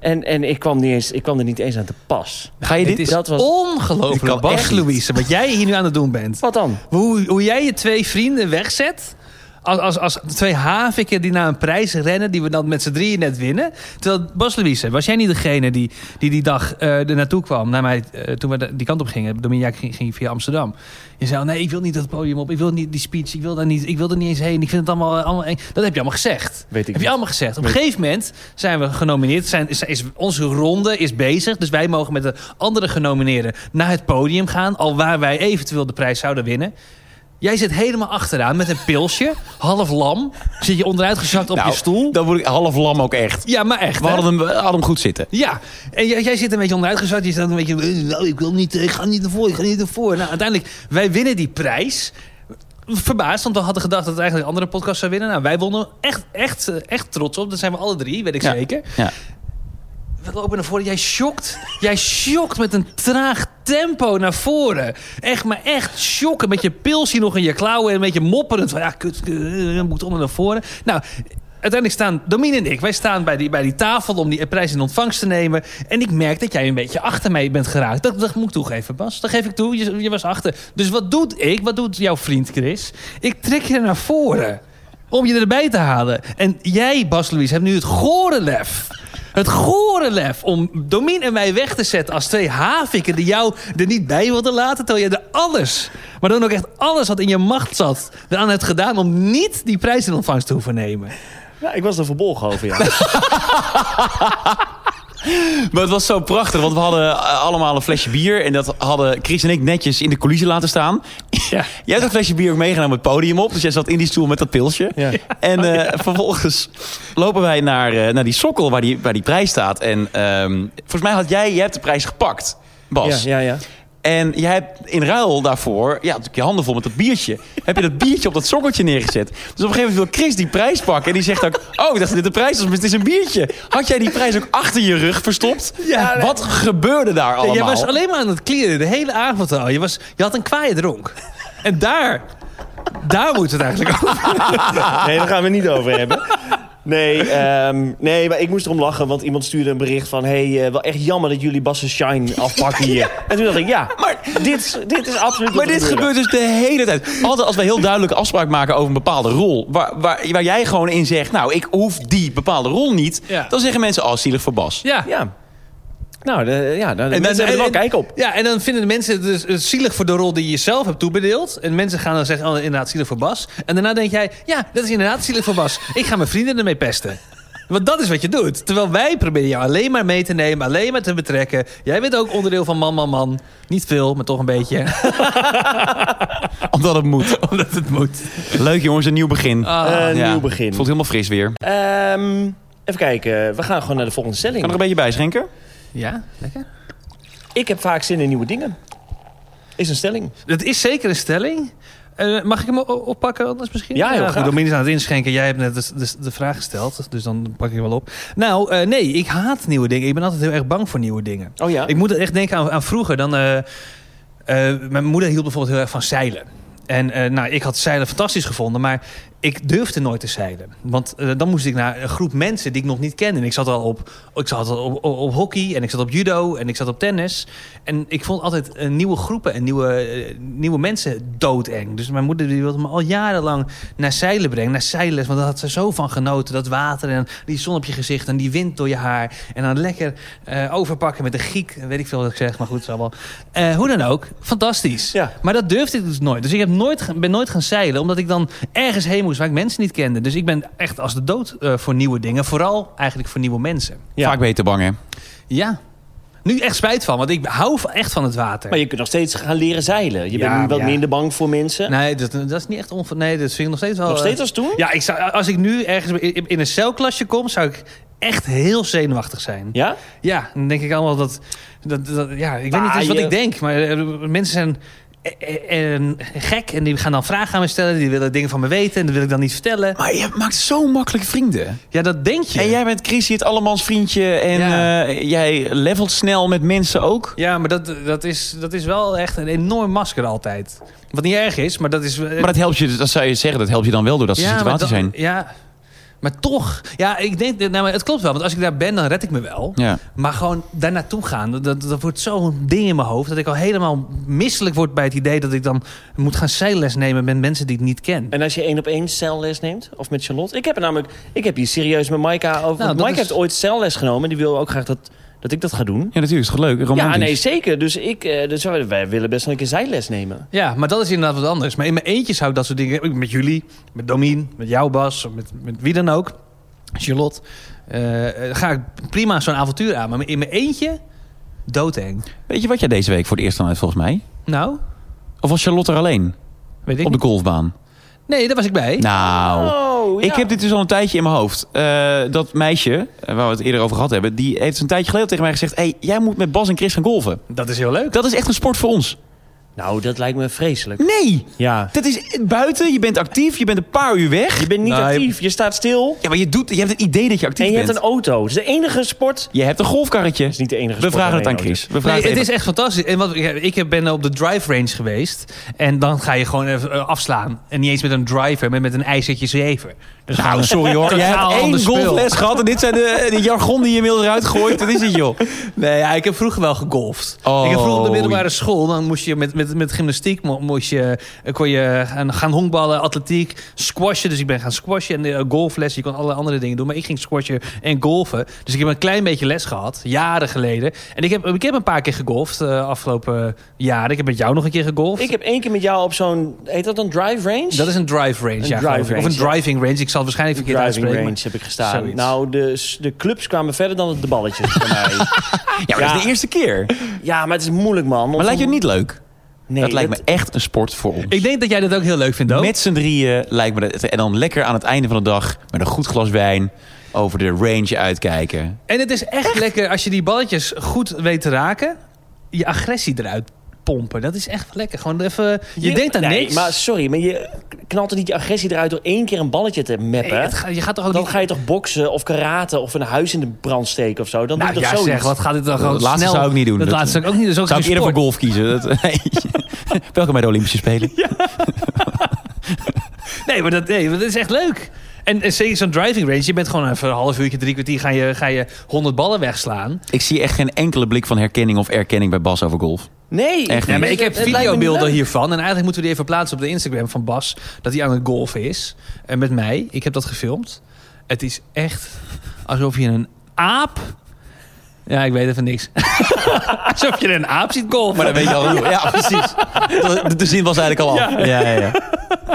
Speaker 4: En, en ik, kwam niet eens, ik kwam er niet eens aan te pas.
Speaker 2: Ga je
Speaker 1: Dit
Speaker 2: dit...
Speaker 1: is
Speaker 4: dat was-
Speaker 2: Dit
Speaker 1: ongelooflijk.
Speaker 2: kan
Speaker 1: Bas
Speaker 2: echt niet.
Speaker 1: Louise, wat jij hier nu aan het doen bent.
Speaker 4: Wat dan?
Speaker 1: Hoe, hoe jij je twee vrienden wegzet. Als, als, als twee haviken die naar een prijs rennen. die we dan met z'n drieën net winnen. Terwijl Bas Louise, was jij niet degene die die, die dag eh er naartoe kwam? Naar mij, eh, toen we de- die kant op gingen. Dominiak ging, ging via Amsterdam. Je zei: al, Nee, ik wil niet dat podium op. Ik wil niet die speech. Ik wil, daar niet, ik wil er niet eens heen. Ik vind het allemaal, eh, allemaal eng. Dat heb je allemaal gezegd.
Speaker 4: Weet
Speaker 1: heb
Speaker 4: ik
Speaker 1: je
Speaker 4: niet.
Speaker 1: allemaal gezegd. Op een gegeven moment zijn we genomineerd. Zijn, is, is- onze ronde is bezig. Dus wij mogen met de andere genomineerden naar het podium gaan. Al waar wij eventueel de prijs zouden winnen. Jij zit helemaal achteraan met een pilsje. Half lam. Zit je onderuitgezakt op
Speaker 2: Nou,
Speaker 1: je stoel.
Speaker 2: Dan word ik half lam ook echt.
Speaker 1: Ja, maar echt.
Speaker 2: We
Speaker 1: hè?
Speaker 2: hadden hem, we hadden hem goed zitten.
Speaker 1: Ja, en jij, jij zit een beetje onderuitgezakt. Je staat een beetje, eh, nou, ik wil niet, eh, ik ga niet ervoor, ik ga niet ervoor. Nou, uiteindelijk, wij winnen die prijs. Verbaasd, want we hadden gedacht dat het eigenlijk een andere podcast zou winnen. Nou, wij wonnen echt, echt, eh, echt trots op. Dat zijn we alle drie, weet ik
Speaker 2: Ja.
Speaker 1: zeker.
Speaker 2: Ja.
Speaker 1: We lopen naar voren. Jij shocked. Jij shocked met een traag tempo naar voren. Echt, maar echt shocken. Met je pilsje nog in je klauwen en een beetje mopperend. Van, ja, kut, kut, eh, moet onder naar voren. Nou, uiteindelijk staan Domine en ik. Wij staan bij die, bij die tafel om die prijs in ontvangst te nemen. En ik merk dat jij een beetje achter mij bent geraakt. Dat, dat moet ik toegeven, Bas. Dat geef ik toe. Je, je was achter. Dus wat doet ik? Wat doet jouw vriend Chris? Ik trek je naar voren om je erbij te halen. En jij, Bas Louise, hebt nu het gore lef. Het gore lef om Domin en mij weg te zetten als twee haviken die jou er niet bij wilden laten. Terwijl je er alles, maar dan ook echt alles wat in je macht zat, eraan hebt gedaan om niet die prijs in ontvangst te hoeven nemen.
Speaker 4: Ja, ik was er verbolgen over, ja.
Speaker 2: Maar het was zo prachtig, want we hadden eh, allemaal een flesje bier. En dat hadden Chris en ik netjes in de coulissen laten staan.
Speaker 1: Ja.
Speaker 2: Jij hebt dat flesje bier ook meegenomen het podium op. Dus jij zat in die stoel met dat pilsje.
Speaker 4: Ja.
Speaker 2: En eh, vervolgens lopen wij naar, eh, naar die sokkel waar die, waar die prijs staat. En ehm, volgens mij had jij, jij hebt de prijs gepakt,
Speaker 4: ja,
Speaker 2: Bas.
Speaker 4: ja, ja.
Speaker 2: En jij hebt in ruil daarvoor, ja, natuurlijk je handen vol met dat biertje. heb je dat biertje op dat sokkeltje neergezet. Dus op een gegeven moment wil Chris die prijs pakken. En die zegt ook, oh, ik dacht dat dit de prijs was, maar het is een biertje. Had jij die prijs ook achter je rug verstopt?
Speaker 1: Ja, nee.
Speaker 2: Wat gebeurde daar allemaal?
Speaker 1: Jij was alleen maar aan het kleren de hele avond al. Je, was, je had een kwaaie dronk. En daar, daar moet het eigenlijk over.
Speaker 4: Nee, daar gaan we het niet over hebben. Nee, ehm, nee, maar ik moest erom lachen, want iemand stuurde een bericht van... hey, eh, wel echt jammer dat jullie Bassen Shine afpakken hier. En toen dacht ik, ja,
Speaker 2: Maar-
Speaker 4: dit, dit is absoluut
Speaker 2: Maar
Speaker 4: wat er
Speaker 2: dit
Speaker 4: gebeurde.
Speaker 2: gebeurt dus de hele tijd. Altijd als wij heel duidelijke afspraak maken over een bepaalde rol... waar, waar, waar jij gewoon in zegt, nou, ik hoef die bepaalde rol niet...
Speaker 1: Ja.
Speaker 2: dan zeggen mensen, oh, zielig voor Bas.
Speaker 1: Ja.
Speaker 4: Ja. Nou, de, ja, nou, de
Speaker 1: dan-
Speaker 4: mensen hebben er wel kijk op.
Speaker 1: Ja, en dan vinden de mensen het dus het zielig voor de rol die je zelf hebt toebedeeld. En mensen gaan dan zeggen, oh, inderdaad zielig voor Bas. En daarna denk jij, ja, dat is inderdaad zielig voor Bas. Ik ga mijn vrienden ermee pesten. Want dat is wat je doet. Terwijl wij proberen jou alleen maar mee te nemen, alleen maar te betrekken. Jij bent ook onderdeel van Man, Man, Man. Niet veel, maar toch een beetje.
Speaker 2: Omdat het moet.
Speaker 1: Omdat het moet.
Speaker 2: Leuk jongens, een nieuw begin.
Speaker 1: Ah.
Speaker 4: Eh,
Speaker 2: Ja.
Speaker 4: Nieuw begin.
Speaker 2: Voelt helemaal fris weer. Kan
Speaker 4: Ehm, even kijken, we gaan gewoon naar de volgende
Speaker 2: er nog
Speaker 4: stelling.
Speaker 2: een beetje bij schenken?
Speaker 1: Ja, lekker.
Speaker 4: Ik heb vaak zin in nieuwe dingen. Is een stelling.
Speaker 1: Dat is zeker een stelling. Eh, mag ik hem o- oppakken anders misschien?
Speaker 4: Ja, heel
Speaker 1: goed,
Speaker 4: graag.
Speaker 1: Domien is aan het inschenken. Jij hebt net de, de, de vraag gesteld, dus dan pak ik hem wel op. Nou, eh, nee, ik haat nieuwe dingen. Ik ben altijd heel erg bang voor nieuwe dingen.
Speaker 4: Oh ja?
Speaker 1: Ik moet echt denken aan, aan vroeger. Dan, eh, eh, mijn moeder hield bijvoorbeeld heel erg van zeilen. En eh, nou, ik had zeilen fantastisch gevonden, maar ik durfde nooit te zeilen. Want eh, dan moest ik naar een groep mensen die ik nog niet kende. En ik zat al op, ik zat al op, op, op hockey en ik zat op judo en ik zat op tennis. En ik vond altijd eh, nieuwe groepen en nieuwe, eh, nieuwe mensen doodeng. Dus mijn moeder die wilde me al jarenlang naar zeilen brengen, naar zeilen. Want daar had ze zo van genoten. Dat water en die zon op je gezicht en die wind door je haar. En dan lekker eh, overpakken met een giek. Weet ik veel wat ik zeg, maar goed, het is allemaal. Eh, hoe dan ook, fantastisch.
Speaker 4: Ja.
Speaker 1: Maar dat durfde ik dus nooit. Dus ik heb nooit, ge- ben nooit gaan zeilen, omdat ik dan ergens heen moest waar ik mensen niet kende. Dus ik ben echt als de dood eh, voor nieuwe dingen. Vooral eigenlijk voor nieuwe mensen.
Speaker 4: Ja.
Speaker 2: Vaak ben je te bang, hè?
Speaker 1: Ja. Nu echt spijt van, want ik hou van- echt van het water.
Speaker 4: Maar je kunt nog steeds gaan leren zeilen. Je
Speaker 1: Ja,
Speaker 4: bent
Speaker 1: maar
Speaker 4: wat
Speaker 1: ja.
Speaker 4: minder bang voor mensen.
Speaker 1: Nee, dat, dat is niet echt onver... Nee, dat vind ik nog steeds wel...
Speaker 4: nog
Speaker 1: eh,
Speaker 4: steeds als toen?
Speaker 1: Ja, ik zou, als ik nu ergens in in een celklasje kom, zou ik echt heel zenuwachtig zijn.
Speaker 4: Ja?
Speaker 1: Ja, dan denk ik allemaal dat... dat, dat ja, ik weet niet eens wat
Speaker 4: Baaien.
Speaker 1: ik denk, maar eh, mensen zijn eh, eh, eh, gek en die gaan dan vragen aan me stellen. Die willen dingen van me weten en dat wil ik dan niet vertellen.
Speaker 2: Maar je maakt zo makkelijk vrienden.
Speaker 1: Ja, dat denk je.
Speaker 2: En jij bent Chrissy het allemans vriendje. En
Speaker 1: Ja.
Speaker 2: eh, jij levelt snel met mensen ook.
Speaker 1: Ja, maar dat, dat, is, dat is wel echt een enorm masker altijd. Wat niet erg is, maar dat is... eh,
Speaker 2: Maar dat helpt je, dat zou je zeggen, dat helpt je dan wel door dat soort
Speaker 1: maar
Speaker 2: situaties
Speaker 1: dan-
Speaker 2: zijn.
Speaker 1: Ja, maar toch. Ja, ik denk, dat- nou, maar het klopt wel. Want als ik daar ben, dan red ik me wel.
Speaker 2: Ja.
Speaker 1: Maar gewoon daar naartoe gaan, dat, dat, dat wordt zo'n ding in mijn hoofd... dat ik al helemaal misselijk word bij het idee... dat ik dan moet gaan zeilles nemen met mensen die ik niet ken.
Speaker 4: En als je één op één celles neemt, of met Charlotte. Ik heb er namelijk, ik heb hier serieus met Maika over. want
Speaker 1: dat
Speaker 4: Maika
Speaker 1: is-
Speaker 4: heeft ooit celles genomen. Die wil ook graag dat, dat ik dat ga doen.
Speaker 2: Ja, natuurlijk. Is toch leuk? Romantisch.
Speaker 4: Ja, nee, zeker. Dus, ik, eh, dus wij- wij willen best wel een keer zijles nemen.
Speaker 1: Ja, maar dat is inderdaad wat anders. Maar in mijn eentje zou ik dat soort dingen... Met jullie, met Domien, met jou Bas, met, met wie dan ook. Charlotte. eh, eh, ga ik prima zo'n avontuur aan. Maar in mijn eentje, doodeng.
Speaker 2: Weet je wat jij deze week voor het eerst dan uit, volgens mij?
Speaker 1: Nou,
Speaker 2: Of was Charlotte er alleen?
Speaker 1: weet ik
Speaker 2: Op de
Speaker 1: niet.
Speaker 2: golfbaan?
Speaker 1: Nee, daar was ik bij.
Speaker 2: Nou...
Speaker 4: Oh,
Speaker 2: Ik heb dit dus al een tijdje in mijn hoofd. Eh, dat meisje, eh, waar we het eerder over gehad hebben... die heeft een tijdje geleden tegen mij gezegd... hey, jij moet met Bas en Chris gaan golven.
Speaker 1: Dat is heel leuk.
Speaker 2: Dat is echt een sport voor ons.
Speaker 4: Nou, dat lijkt me vreselijk.
Speaker 2: Nee!
Speaker 4: Ja.
Speaker 2: Dat is buiten, je bent actief, je bent een paar uur weg.
Speaker 4: Je bent niet
Speaker 1: Nou, je-
Speaker 4: actief. Je staat stil.
Speaker 2: Ja, maar je, doet, je hebt het idee dat je actief
Speaker 4: En je
Speaker 2: bent.
Speaker 4: hebt een auto. Het is de enige sport. Het
Speaker 2: Je hebt een golfkarretje.
Speaker 4: is niet de enige
Speaker 2: We
Speaker 4: sport.
Speaker 2: vragen het
Speaker 4: alleen
Speaker 2: aan
Speaker 4: auto.
Speaker 2: Chris. We
Speaker 1: Nee,
Speaker 2: vragen
Speaker 1: het
Speaker 2: even-
Speaker 1: is echt fantastisch. En wat, ik- ik heb- ben op de drive range geweest. En dan ga je gewoon even eh, afslaan. En niet eens met een driver, maar met een ijzertje zeven. Dus
Speaker 2: Nou, sorry hoor. Je hebt
Speaker 1: Totaal
Speaker 2: één
Speaker 1: ander spul.
Speaker 2: golfles gehad en dit zijn de, de jargon die je inmiddels eruit gooit. Wat is het, joh?
Speaker 1: Nee, ja, ik heb vroeger wel gegolfd.
Speaker 2: Oh.
Speaker 1: Ik heb vroeger op de middelbare school, dan moest je met, met, met gymnastiek, mo- moest je, eh, kon je gaan, gaan honkballen, atletiek, squashen. Dus ik ben gaan squashen en eh, golfles. Je kon allerlei andere dingen doen, maar ik ging squashen en golfen. Dus ik heb een klein beetje les gehad, jaren geleden. En ik heb, ik heb een paar keer gegolfd eh afgelopen jaren. Ik heb met jou nog een keer gegolfd.
Speaker 4: Ik heb één keer met jou op zo'n... Heet dat een drive range?
Speaker 1: Dat is een drive range,
Speaker 4: Een
Speaker 1: ja,
Speaker 4: drive
Speaker 1: geloof ik. Of
Speaker 4: range,
Speaker 1: een driving range. Ik zal het waarschijnlijk
Speaker 4: Een
Speaker 1: verkeerd uitspreken.
Speaker 4: driving range
Speaker 1: maar-
Speaker 4: heb ik gestaan.
Speaker 1: Zoiets.
Speaker 4: Nou, de, de clubs kwamen verder dan de balletjes bij mij.
Speaker 2: Ja, maar dat is de eerste keer.
Speaker 4: Ja, maar het is moeilijk, man.
Speaker 2: Maar lijkt je het niet leuk?
Speaker 4: Nee,
Speaker 2: dat lijkt me echt een sport voor ons.
Speaker 1: Ik denk dat jij dat ook heel leuk vindt, ook.
Speaker 2: Met z'n drieën lijkt me dat. En dan lekker aan het einde van de dag met een goed glas wijn over de range uitkijken.
Speaker 1: En het is echt, lekker als je die balletjes goed weet te raken. Je agressie eruit pompen. Dat is echt lekker. Gewoon even, je, denkt aan
Speaker 4: nee,
Speaker 1: niks.
Speaker 4: Maar sorry, maar je knalt er niet je agressie eruit door één keer een balletje te
Speaker 1: Nee,
Speaker 4: meppen.
Speaker 1: het ga- je gaat toch ook
Speaker 4: dan
Speaker 1: niet...
Speaker 4: ga je toch boksen of karate of een huis in de brand steken of zo. Dan
Speaker 1: nou,
Speaker 4: doe je
Speaker 1: ja,
Speaker 4: toch zoiets.
Speaker 1: zeg, wat gaat dit dan gewoon
Speaker 2: Dat laatste
Speaker 1: snel...
Speaker 2: zou ik niet doen.
Speaker 1: Dat,
Speaker 2: Dat-
Speaker 1: laatste zou ik ook niet doen. Dat is ook
Speaker 2: Zou ik
Speaker 1: geen
Speaker 2: eerder voor
Speaker 1: sport.
Speaker 2: golf kiezen? Dat, nee. Welkom bij de Olympische Spelen.
Speaker 1: Nee, maar dat, nee, maar dat is echt leuk. En, en zeker zo'n driving range. Je bent gewoon even een half uurtje, drie kwartier... ga je, ga je 100 ballen wegslaan.
Speaker 2: Ik zie echt geen enkele blik van herkenning of erkenning bij Bas over golf.
Speaker 4: Nee,
Speaker 2: Echt
Speaker 1: Ja,
Speaker 2: niet.
Speaker 1: maar ik heb
Speaker 4: Het lijkt me niet
Speaker 1: videobeelden
Speaker 4: leuk.
Speaker 1: hiervan. En eigenlijk moeten we die even plaatsen op de Instagram van Bas. Dat hij aan het golfen is. En met mij. Ik heb dat gefilmd. Het is echt alsof je een aap... Ja, ik weet even niks. alsof je een aap ziet golfen.
Speaker 2: Maar dan weet je al hoe. Ja, precies. De, de zin was eigenlijk al af. Ja, ja, ja.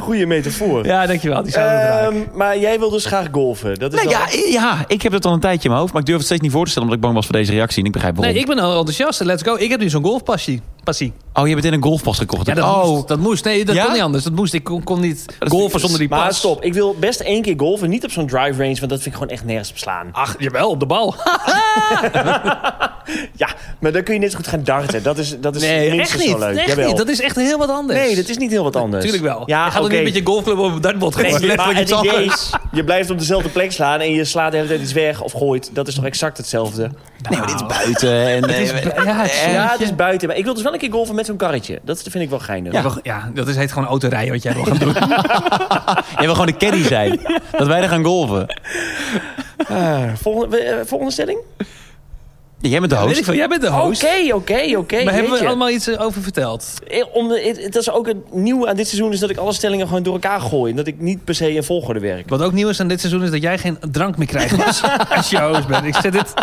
Speaker 4: Goede metafoor.
Speaker 1: Ja, dankjewel. Die zouden we draaien.
Speaker 4: Ehm, maar jij wil dus graag golven. Dat is
Speaker 2: Nee,
Speaker 4: dan-
Speaker 2: ja, ja, ik heb het al een tijdje in mijn hoofd, maar ik durf het steeds niet voor te stellen omdat ik bang was voor deze reactie. En ik begrijp waarom.
Speaker 1: Nee, ik ben al enthousiast. Let's go. Ik heb nu zo'n golfpassie. Passie.
Speaker 2: Oh, je hebt het in een golfpas gekocht.
Speaker 1: Ja, dat,
Speaker 2: oh,
Speaker 1: moest, dat moest. Nee, dat
Speaker 2: Ja?
Speaker 1: kon niet anders. Dat moest. Ik kon, kon niet
Speaker 2: is-
Speaker 1: golfen zonder die pas.
Speaker 4: Maar stop, ik wil best één keer golven. Niet op zo'n drive range, want dat vind ik gewoon echt nergens beslaan.
Speaker 1: Ach, jawel, op de bal.
Speaker 4: Ja, maar dan kun je net zo goed gaan darten. Dat is, dat is
Speaker 1: Nee,
Speaker 4: minstens
Speaker 1: echt
Speaker 4: zo
Speaker 1: niet.
Speaker 4: leuk.
Speaker 1: Echt
Speaker 4: Jawel.
Speaker 1: niet. Dat is echt heel wat anders.
Speaker 4: Nee, dat is niet heel wat anders.
Speaker 1: Tuurlijk wel.
Speaker 4: Ja,
Speaker 1: je gaat er
Speaker 4: oké.
Speaker 1: niet met je golfclub op het dartbord
Speaker 4: Nee,
Speaker 1: gooien.
Speaker 4: maar
Speaker 2: letterlijk
Speaker 4: het
Speaker 2: iets
Speaker 4: idee
Speaker 2: anders.
Speaker 4: is, je blijft op dezelfde plek slaan en je slaat de hele tijd iets weg of gooit. Dat is toch exact hetzelfde?
Speaker 2: nee, maar dit is buiten. En,
Speaker 1: Het is-
Speaker 2: eh,
Speaker 1: ja, het is-
Speaker 2: eh,
Speaker 4: Ja, het is buiten. Maar ik wil dus wel een keer golven met zo'n karretje. Dat vind ik wel geinig.
Speaker 1: Ja, we- ja, dat is, heet gewoon autorijden wat jij wil gaan doen.
Speaker 2: Jij wil gewoon de caddy zijn. Dat wij er gaan golven.
Speaker 4: Volgende, eh, volgende stelling?
Speaker 2: Ja, jij bent de
Speaker 1: Weet ik
Speaker 2: host.
Speaker 1: veel, jij bent de host.
Speaker 4: Oké, oké, oké.
Speaker 1: maar hebben we
Speaker 4: jeetje.
Speaker 1: allemaal iets eh, over verteld?
Speaker 4: Eh, om de- het- Het is ook het nieuwe aan dit seizoen is dat ik alle stellingen gewoon door elkaar gooi. En dat ik niet per se in volgorde werk.
Speaker 1: Wat ook nieuw is aan dit seizoen is dat jij geen drank meer krijgt als, als je host bent. Ik zet dit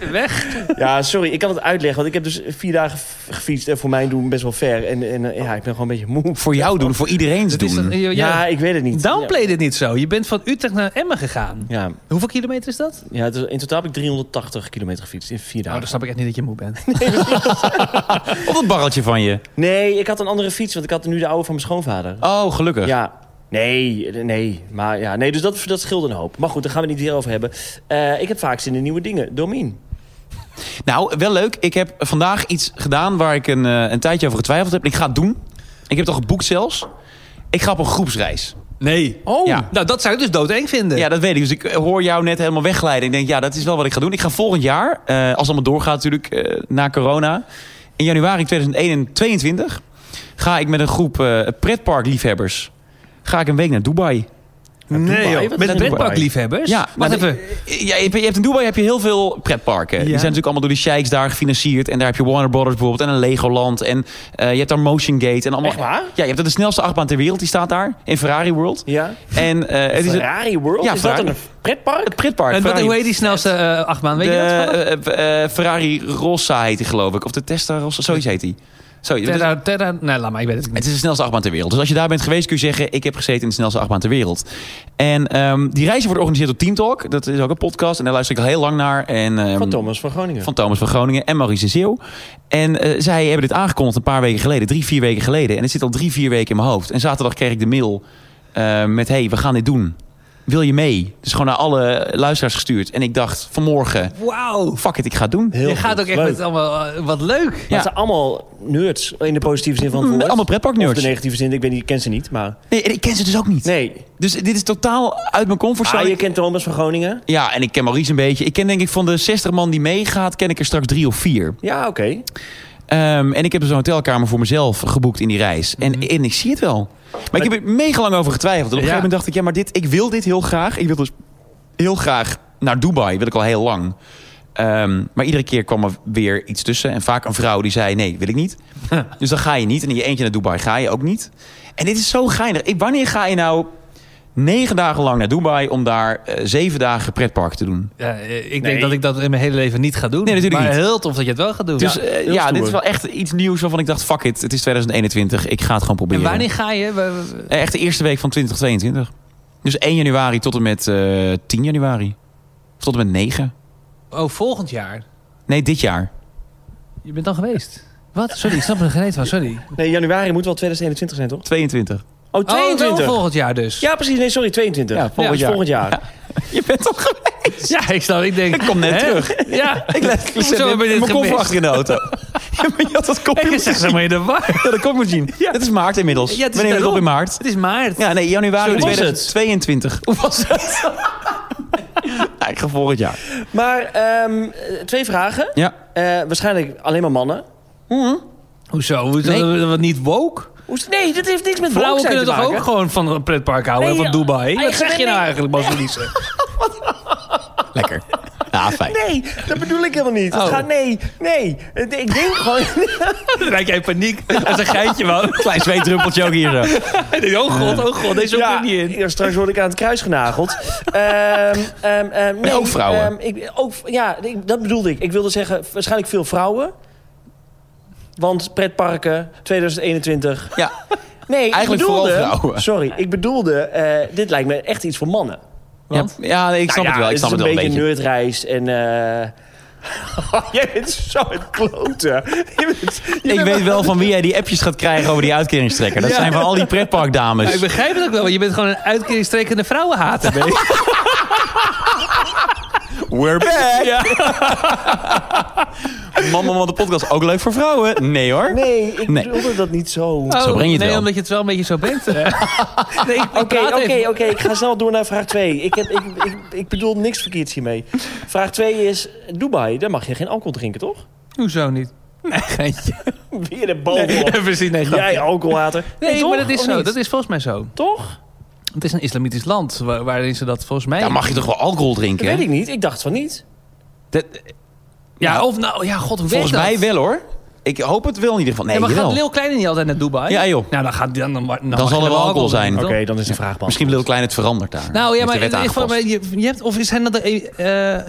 Speaker 1: even weg.
Speaker 4: Ja, sorry, ik kan het uitleggen. Want ik heb dus vier dagen f- gefietst. En voor mij doen best wel ver. En, en eh, ja, ik ben gewoon een beetje moe.
Speaker 2: Voor jou doen, voor iedereen's
Speaker 1: Dat is
Speaker 2: doen.
Speaker 1: dan- je-
Speaker 4: Ja,
Speaker 1: jij-
Speaker 4: ik weet het niet.
Speaker 1: downplay dit niet zo. Je bent van Utrecht naar Emmen gegaan.
Speaker 4: Ja,
Speaker 1: Hoeveel kilometer is dat?
Speaker 4: ja het is- in totaal heb ik 380 kilometer gefietst in vier
Speaker 1: Nou,
Speaker 4: dagen.
Speaker 1: dan snap ik echt niet dat je moe bent.
Speaker 2: Of dat barreltje van je.
Speaker 4: Nee, ik had een andere fiets, want ik had nu de oude van mijn schoonvader.
Speaker 2: Oh, gelukkig.
Speaker 4: Ja. Nee, nee, maar ja, nee, dus dat, dat scheelt een hoop. Maar goed, daar gaan we het niet weer over hebben. Eh, ik heb vaak zin in nieuwe dingen. Domin.
Speaker 2: Nou, wel leuk. Ik heb vandaag iets gedaan waar ik een, eh, een tijdje over getwijfeld heb. En ik ga het doen. Ik heb het al geboekt zelfs. Ik ga op een groepsreis.
Speaker 1: Nee. Oh.
Speaker 2: Ja.
Speaker 1: Nou, dat zou ik dus doodeng vinden.
Speaker 2: Ja, dat weet ik. Dus ik hoor jou net helemaal wegglijden. Ik denk, ja, dat is wel wat ik ga doen. Ik ga volgend jaar, eh, als het allemaal doorgaat natuurlijk, eh, na corona... in januari 2021 ga ik met een groep eh pretparkliefhebbers... ga ik een week naar Dubai.
Speaker 1: nee,
Speaker 4: Dubai,
Speaker 1: joh.
Speaker 4: wat
Speaker 1: Met
Speaker 4: is Dubai?
Speaker 1: pretparkliefhebbers?
Speaker 2: Ja,
Speaker 1: Wacht
Speaker 2: nou,
Speaker 1: even.
Speaker 2: de- Ja, je hebt- je hebt in Dubai heb je heel veel pretparken. Die zijn natuurlijk allemaal door die sheiks daar gefinancierd. En daar heb je Warner Brothers bijvoorbeeld en een Legoland. En eh, je hebt daar Motion Gate. En allemaal,
Speaker 4: Echt waar?
Speaker 2: Ja, je hebt de snelste achtbaan ter wereld. Die staat daar in Ferrari World.
Speaker 4: Ja?
Speaker 2: En eh, het is een
Speaker 4: Ferrari World?
Speaker 2: Ja,
Speaker 4: is
Speaker 2: Ferrari.
Speaker 4: dat een pretpark?
Speaker 2: pretpark.
Speaker 1: En wat,
Speaker 2: Ferrari-
Speaker 1: hoe heet die snelste eh, achtbaan? Weet
Speaker 2: de,
Speaker 1: je dat? toevallig?
Speaker 2: eh, eh, Ferrari Rossa heet die geloof ik. Of de Testa Rossa, zoiets heet die. Zoiets.
Speaker 1: Terra, Terra, nee, laat maar, ik weet het niet.
Speaker 2: Het is de snelste achtbaan ter wereld. Dus als je daar bent geweest, kun je zeggen: Ik heb gezeten in de snelste achtbaan ter wereld. En ehm, die reizen wordt georganiseerd door Team Talk. Dat is ook een podcast. En daar luister ik al heel lang naar. En, ehm,
Speaker 4: Van Thomas van Groningen.
Speaker 2: Van Thomas van Groningen en Maurice de Zeeuw. En eh, zij hebben dit aangekondigd een paar weken geleden, drie, vier weken geleden. En het zit al drie, vier weken in mijn hoofd. En zaterdag kreeg ik de mail eh, met: hey, we gaan dit doen. Wil je mee? Dus gewoon naar alle luisteraars gestuurd. En ik dacht vanmorgen:
Speaker 1: Wauw.
Speaker 2: Oh, fuck it, ik ga het doen.
Speaker 4: Heel
Speaker 1: Je gaat
Speaker 4: goed,
Speaker 1: ook echt
Speaker 4: leuk.
Speaker 1: met allemaal... eh, wat leuk.
Speaker 4: Maar het zijn allemaal nerds, in de positieve zin van het
Speaker 2: Met
Speaker 4: woord.
Speaker 2: allemaal pretparknerds.
Speaker 4: Of de negatieve zin, ik, weet niet, ik ken ze niet, maar...
Speaker 2: Nee, en ik ken ze dus ook niet.
Speaker 4: Nee.
Speaker 2: Dus dit is totaal uit mijn comfortzone.
Speaker 4: Ah, je kent Thomas van Groningen?
Speaker 2: Ja, en ik ken Maurice een beetje. Ik ken denk ik van de 60 man die meegaat, ken ik er straks drie of vier.
Speaker 4: Ja, oké.
Speaker 2: Ehm, en ik heb dus een hotelkamer voor mezelf geboekt in die reis. En, en ik zie het wel. Maar, ik heb er mega lang over getwijfeld. En op
Speaker 1: Mhm.
Speaker 2: een
Speaker 1: Ja.
Speaker 2: gegeven moment dacht ik, ja, maar dit, ik wil dit heel graag. Ik wil dus heel graag naar Dubai. Wil ik al heel lang. Ehm, maar iedere keer kwam er weer iets tussen. En vaak een vrouw die zei, nee, wil ik niet. dus dan ga je niet. En in je eentje naar Dubai ga je ook niet. En dit is zo geinig. Ik, wanneer ga je nou negen dagen lang naar Dubai... om daar eh, zeven dagen pretpark te doen?
Speaker 1: Ja, eh, ik denk
Speaker 4: Nee.
Speaker 1: dat ik dat in mijn hele leven niet ga doen.
Speaker 2: Nee, natuurlijk
Speaker 1: maar
Speaker 2: niet.
Speaker 1: heel tof dat je het wel gaat doen.
Speaker 2: Dus
Speaker 1: Ja.
Speaker 2: eh,
Speaker 4: heel
Speaker 2: ja,
Speaker 4: stoer.
Speaker 2: dit is wel echt iets nieuws waarvan ik dacht... fuck it, het is 2021, ik ga het gewoon
Speaker 1: en
Speaker 2: proberen.
Speaker 1: wanneer ga je? We- we-
Speaker 2: Eh, Echt de eerste week van 2022. Dus 1 januari tot en met eh, 10 januari. Of tot en met 9.
Speaker 1: Oh, volgend jaar.
Speaker 2: Nee, dit jaar.
Speaker 1: Je bent dan geweest. Wat? Sorry, ik snap er geen reet van. Sorry.
Speaker 4: Nee, januari moet wel 2021 zijn, toch?
Speaker 2: 22.
Speaker 4: Oh,
Speaker 1: Oh, wel
Speaker 4: 22!
Speaker 1: volgend jaar dus.
Speaker 4: ja, precies. Nee, sorry, 22.
Speaker 2: Ja,
Speaker 4: Ja, dus
Speaker 2: volgend
Speaker 4: volgend
Speaker 2: jaar.
Speaker 4: jaar.
Speaker 2: Je bent toch geweest?
Speaker 1: Ja, ik snap. Ik denk.
Speaker 2: Ik kom net
Speaker 1: hè?
Speaker 2: terug.
Speaker 1: Ja,
Speaker 2: Ik leg
Speaker 1: Hoezo
Speaker 2: zet
Speaker 1: hebben we dit
Speaker 2: mijn koffer
Speaker 1: gemist?
Speaker 2: achter in de auto. Ja, maar je had dat kopje
Speaker 1: ik
Speaker 2: moeten
Speaker 1: zeg ze maar in de war.
Speaker 2: Ja, dat komt misschien.
Speaker 1: Ja.
Speaker 2: Het is maart inmiddels.
Speaker 1: Ja, het is
Speaker 2: Wanneer het op in
Speaker 1: daarom.
Speaker 2: maart?
Speaker 1: Het is maart.
Speaker 2: Ja, nee, januari
Speaker 1: Sorry.
Speaker 4: Hoe was
Speaker 2: 2022.
Speaker 1: Hoe was dat?
Speaker 2: Eigenlijk ga volgend jaar.
Speaker 4: Maar ehm, twee vragen.
Speaker 2: Ja.
Speaker 4: Eh, waarschijnlijk alleen maar mannen.
Speaker 1: Hoezo? Hoe-
Speaker 2: Nee.
Speaker 1: dat- Wat niet woke?
Speaker 4: Hoe is- Nee, dat heeft niks met
Speaker 1: Vrouwen
Speaker 4: woke zijn
Speaker 1: kunnen
Speaker 4: te
Speaker 1: toch
Speaker 4: maken?
Speaker 1: ook gewoon van een pretpark houden
Speaker 4: Nee,
Speaker 1: en van
Speaker 4: ja.
Speaker 1: Dubai? Wat
Speaker 4: Eigenlijk-
Speaker 1: zeg je nou
Speaker 4: nee.
Speaker 1: eigenlijk, Bas Verliezen?
Speaker 2: Lekker.
Speaker 1: Ah,
Speaker 2: Ja, fijn.
Speaker 4: Nee, dat bedoel ik helemaal niet. Het
Speaker 2: Oh.
Speaker 4: gaat, nee, nee. Het- Ik denk gewoon...
Speaker 1: Dan raak jij in paniek. Dat is een geintje, man.
Speaker 2: Klein zweetdruppeltje ook hier eh. zo.
Speaker 1: Ik denk, oh god, oh god, deze
Speaker 4: ja,
Speaker 1: ook niet in.
Speaker 4: ja, straks word ik aan het kruis genageld. Ehm, ehm, ehm, nee,
Speaker 2: ook vrouwen?
Speaker 4: ehm, ik, ook, ja, ik- dat bedoelde ik. Ik wilde zeggen, waarschijnlijk veel vrouwen. Want pretparken, 2021.
Speaker 2: Ja.
Speaker 4: Nee,
Speaker 2: Eigenlijk
Speaker 4: ik bedoelde,
Speaker 2: vooral vrouwen.
Speaker 4: Sorry, ik bedoelde, eh, dit lijkt me echt iets voor mannen.
Speaker 2: Ja, ja, nee, ik snap
Speaker 4: Nou
Speaker 2: het wel. Ik snap het
Speaker 4: is
Speaker 2: wel een beetje.
Speaker 4: nerdreis en... eh, Jij bent zo een klote. Je bent- je
Speaker 2: Ik
Speaker 4: bent
Speaker 2: weet wel van wie jij die appjes gaat krijgen over die uitkeringstrekker. Dat
Speaker 1: Ja.
Speaker 2: zijn van al die pretparkdames.
Speaker 1: Ja, ik begrijp het ook wel, want je bent gewoon een uitkeringstrekkende vrouwenhater. Ben je?
Speaker 2: We're back! Mama, man, de podcast ook leuk voor vrouwen. Nee hoor.
Speaker 4: Nee, ik
Speaker 2: Nee. Ah,
Speaker 4: bedoelde dat niet zo.
Speaker 1: Oh,
Speaker 2: Zo breng je het
Speaker 1: Nee,
Speaker 2: wel.
Speaker 1: omdat je het wel een beetje zo bent. nee, ik- ik
Speaker 4: Oké,
Speaker 1: praat
Speaker 4: oké,
Speaker 1: even.
Speaker 4: oké. Ik ga snel door naar vraag 2. Ik, heb- ik, ik, ik bedoel niks verkeerds hiermee. Vraag 2 is... Dubai, daar mag je geen alcohol drinken, toch?
Speaker 1: Hoezo niet? Nee, geintje.
Speaker 4: Weer de boven.
Speaker 1: Precies, nee, grapje.
Speaker 4: Jij alcoholhater.
Speaker 1: Nee,
Speaker 4: toch?
Speaker 1: maar dat is
Speaker 4: Of
Speaker 1: zo.
Speaker 4: niet?
Speaker 1: Dat is volgens mij zo.
Speaker 4: Toch?
Speaker 1: Het is een islamitisch land wa- waarin ze dat volgens mij...
Speaker 2: Daar mag je toch wel alcohol drinken?
Speaker 4: Dat weet ik niet. Ik dacht van niet.
Speaker 2: Dat-
Speaker 1: Ja, of nou, ja, god, hoe
Speaker 2: volgens
Speaker 1: werkt dat?
Speaker 2: mij wel hoor. Ik hoop het wel in ieder geval. Nee,
Speaker 1: ja, maar gaat
Speaker 2: jawel.
Speaker 1: Lil Kleine niet altijd naar Dubai?
Speaker 2: Ja, joh.
Speaker 1: Nou, dan, gaat, dan, dan, dan mag
Speaker 2: zal
Speaker 1: je
Speaker 2: er wel alcohol
Speaker 1: in,
Speaker 2: zijn.
Speaker 1: toch?
Speaker 4: Oké, dan is de vraag beantwoord.
Speaker 2: Misschien Lil Klein het verandert daar.
Speaker 1: Nou ja,
Speaker 2: Heeft
Speaker 1: maar,
Speaker 2: de wet
Speaker 1: in ieder geval,
Speaker 2: aangepast.
Speaker 1: maar je, je hebt, of zijn dat de eh, eh,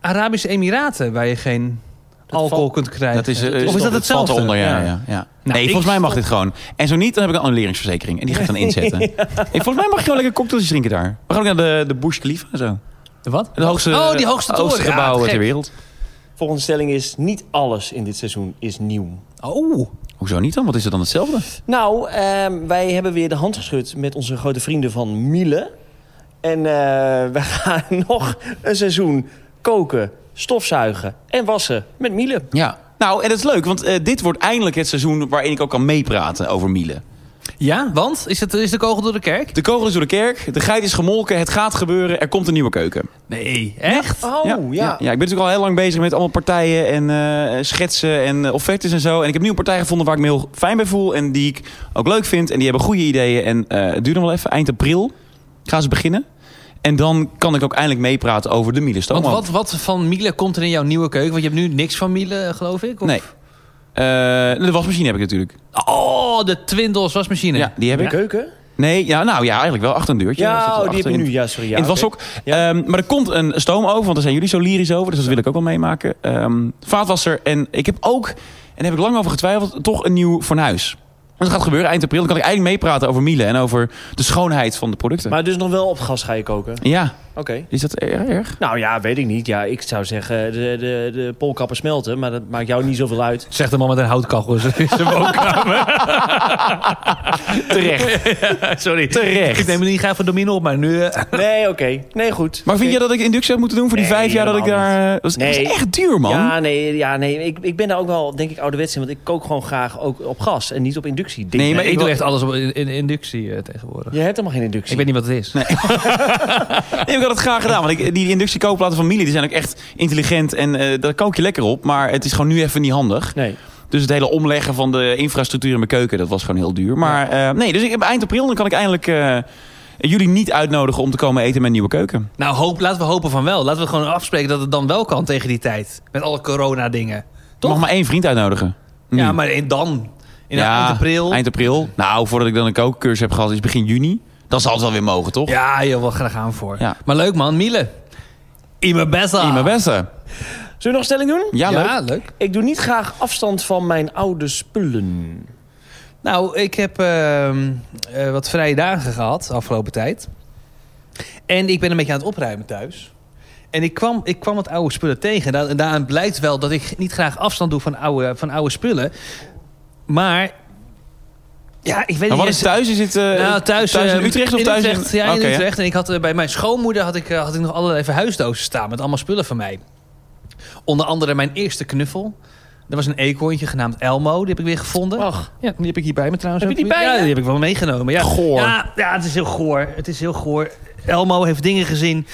Speaker 1: Arabische Emiraten waar je geen alcohol
Speaker 4: valt-
Speaker 1: kunt krijgen?
Speaker 2: Dat is, eh,
Speaker 1: of is dat
Speaker 2: het valt
Speaker 1: hetzelfde?
Speaker 2: eronder, ja. ja. ja. nee,
Speaker 1: Nou, ik
Speaker 2: volgens mij mag
Speaker 1: stop-
Speaker 2: dit gewoon. En zo niet, dan heb ik een annuleringsverzekering. En die ga ik dan inzetten. hey, volgens mij mag je gewoon lekker cocktails drinken daar. We gaan ook naar de, de Burj Khalifa en zo.
Speaker 1: Wat?
Speaker 2: De hoogste,
Speaker 1: Oh, die hoogste toren. Ja,
Speaker 2: gebouw
Speaker 1: te gek.
Speaker 2: ter wereld.
Speaker 4: Volgende stelling is... Niet alles in dit seizoen is nieuw.
Speaker 1: Oh,
Speaker 2: Hoezo niet dan? Wat is het dan hetzelfde?
Speaker 4: Nou, ehm, wij hebben weer de hand geschud met onze grote vrienden van Miele. En eh, we gaan nog een seizoen koken, stofzuigen en wassen met Miele.
Speaker 2: Ja. Nou, en dat is leuk, want eh, dit wordt eindelijk het seizoen waarin ik ook kan meepraten over Miele.
Speaker 1: ja, want? Is, het, is de kogel door de kerk?
Speaker 2: De kogel is door de kerk, de geit is gemolken, het gaat gebeuren, er komt een nieuwe keuken.
Speaker 1: Nee, echt?
Speaker 4: Oh,
Speaker 2: ja, ja. ik ben natuurlijk al heel lang bezig met allemaal partijen en eh, schetsen en eh, offertes en zo. En ik heb nu een partij gevonden waar ik me heel fijn bij voel en die ik ook leuk vind. En die hebben goede ideeën en eh, het duurt nog wel even. Eind april gaan ze beginnen. En dan kan ik ook eindelijk meepraten over de Miele
Speaker 1: Want
Speaker 2: Stoomhoofd.
Speaker 1: wat, wat van Miele komt er in jouw nieuwe keuken? Want je hebt nu niks van Miele, geloof ik? of-
Speaker 2: Nee. Eh, de wasmachine heb ik natuurlijk.
Speaker 1: Oh, de Twindels wasmachine.
Speaker 2: Ja, die heb
Speaker 4: De
Speaker 2: ik.
Speaker 4: keuken?
Speaker 2: Nee, ja, nou ja, eigenlijk wel achter een deurtje. Daar zit
Speaker 4: Ja,
Speaker 2: wel
Speaker 4: oh, die heb
Speaker 2: achter
Speaker 4: je
Speaker 2: in-
Speaker 4: nu. Ja, sorry. Ja,
Speaker 2: in het
Speaker 4: oké.
Speaker 2: washok. Ehm, maar er komt een stoomoven, want daar zijn jullie zo lyrisch over. Dus dat wil ik ook wel meemaken. Ehm, vaatwasser. En ik heb ook, en daar heb ik lang over getwijfeld, toch een nieuw fornuis. En dat gaat gebeuren eind april. Dan kan ik eindelijk meepraten over Miele en over de schoonheid van de producten.
Speaker 4: Maar dus nog wel op gas ga je koken?
Speaker 2: ja,
Speaker 4: Oké.
Speaker 2: is dat erg? erg?
Speaker 4: Nou ja, weet ik niet. Ja, ik zou zeggen de, de, de polkappen smelten, maar dat maakt jou niet zoveel uit.
Speaker 1: Zegt de man met een houtkachel in zijn woonkamer.
Speaker 2: Terecht.
Speaker 1: Sorry.
Speaker 2: Terecht.
Speaker 1: Ik neem het niet graag voor domino op, maar nu... eh,
Speaker 4: Nee, oké. Nee, goed.
Speaker 2: Maar vind je dat ik inductie had moeten doen voor die
Speaker 4: Nee,
Speaker 2: vijf jaar dat ik
Speaker 4: helemaal
Speaker 2: daar... eh, Dat is, dat is
Speaker 4: Nee.
Speaker 2: echt duur, man.
Speaker 4: Ja, nee, ja, nee. Ik, ik ben daar ook wel, denk ik, ouderwets in. Want ik kook gewoon graag ook op gas en niet op inductie. Denk
Speaker 2: Nee,
Speaker 4: ik.
Speaker 2: maar
Speaker 1: ik
Speaker 2: ik
Speaker 1: doe
Speaker 2: wil-
Speaker 1: echt alles op in, in- inductie eh, tegenwoordig.
Speaker 4: Je hebt helemaal geen inductie.
Speaker 1: Ik weet niet wat het is.
Speaker 2: Nee, ik had het graag gedaan. Want ik, die inductiekoopplaten van Miele die zijn ook echt intelligent. En eh, daar kook je lekker op. Maar het is gewoon nu even niet handig.
Speaker 4: Nee.
Speaker 2: Dus het hele omleggen van de infrastructuur in mijn keuken, dat was gewoon heel duur. Maar eh, nee, dus ik heb eind april, dan kan ik eindelijk eh, jullie niet uitnodigen om te komen eten in mijn nieuwe keuken.
Speaker 1: Nou, hoop, laten we hopen van wel. Laten we gewoon afspreken dat het dan wel kan tegen die tijd. Met alle corona-dingen.
Speaker 2: Toch?
Speaker 1: Toch?
Speaker 2: Mag maar één vriend uitnodigen. Nu.
Speaker 1: Ja, maar in dan. In
Speaker 2: Ja,
Speaker 1: eind april.
Speaker 2: Eind april. Nou, voordat ik dan een kookcursus heb gehad, is begin juni. Dan zal het wel weer mogen, toch?
Speaker 1: Ja, joh, wel graag aan voor.
Speaker 2: Ja.
Speaker 1: Maar leuk man, Miele. Ima besta.
Speaker 2: In mijn beste.
Speaker 4: Zullen we nog een stelling doen?
Speaker 2: Ja, leuk.
Speaker 1: Ja, leuk.
Speaker 4: Ik doe niet graag afstand van mijn oude spullen.
Speaker 1: Nou, ik heb ehm, eh, wat vrije dagen gehad de afgelopen tijd. En ik ben een beetje aan het opruimen thuis. En ik kwam, ik kwam wat oude spullen tegen. Da daaraan blijkt wel dat ik niet graag afstand doe van oude, van oude spullen. Maar Ja, ik weet
Speaker 2: Maar wat
Speaker 1: niet.
Speaker 2: is thuis? Is het eh,
Speaker 1: Nou, thuis,
Speaker 2: in
Speaker 1: eh,
Speaker 2: Utrecht of
Speaker 1: in
Speaker 2: thuis in-
Speaker 1: Utrecht, Ja, in
Speaker 2: Oké, hè?
Speaker 1: Utrecht. En ik had, eh, bij mijn schoonmoeder had ik, eh, had ik nog allerlei verhuisdozen staan met allemaal spullen van mij. Onder andere mijn eerste knuffel. Er was een eekhoorntje genaamd Elmo, die heb ik weer gevonden.
Speaker 2: Oh,
Speaker 4: Ach.
Speaker 1: Ja, die heb ik hier bij me trouwens.
Speaker 4: Heb je
Speaker 1: ook
Speaker 4: die
Speaker 1: weer.
Speaker 4: bij
Speaker 1: Ja,
Speaker 4: je?
Speaker 1: die heb ik wel meegenomen. Ja.
Speaker 2: Goor.
Speaker 1: Ja, ja, het is heel goor. Het is heel goor. Elmo heeft dingen gezien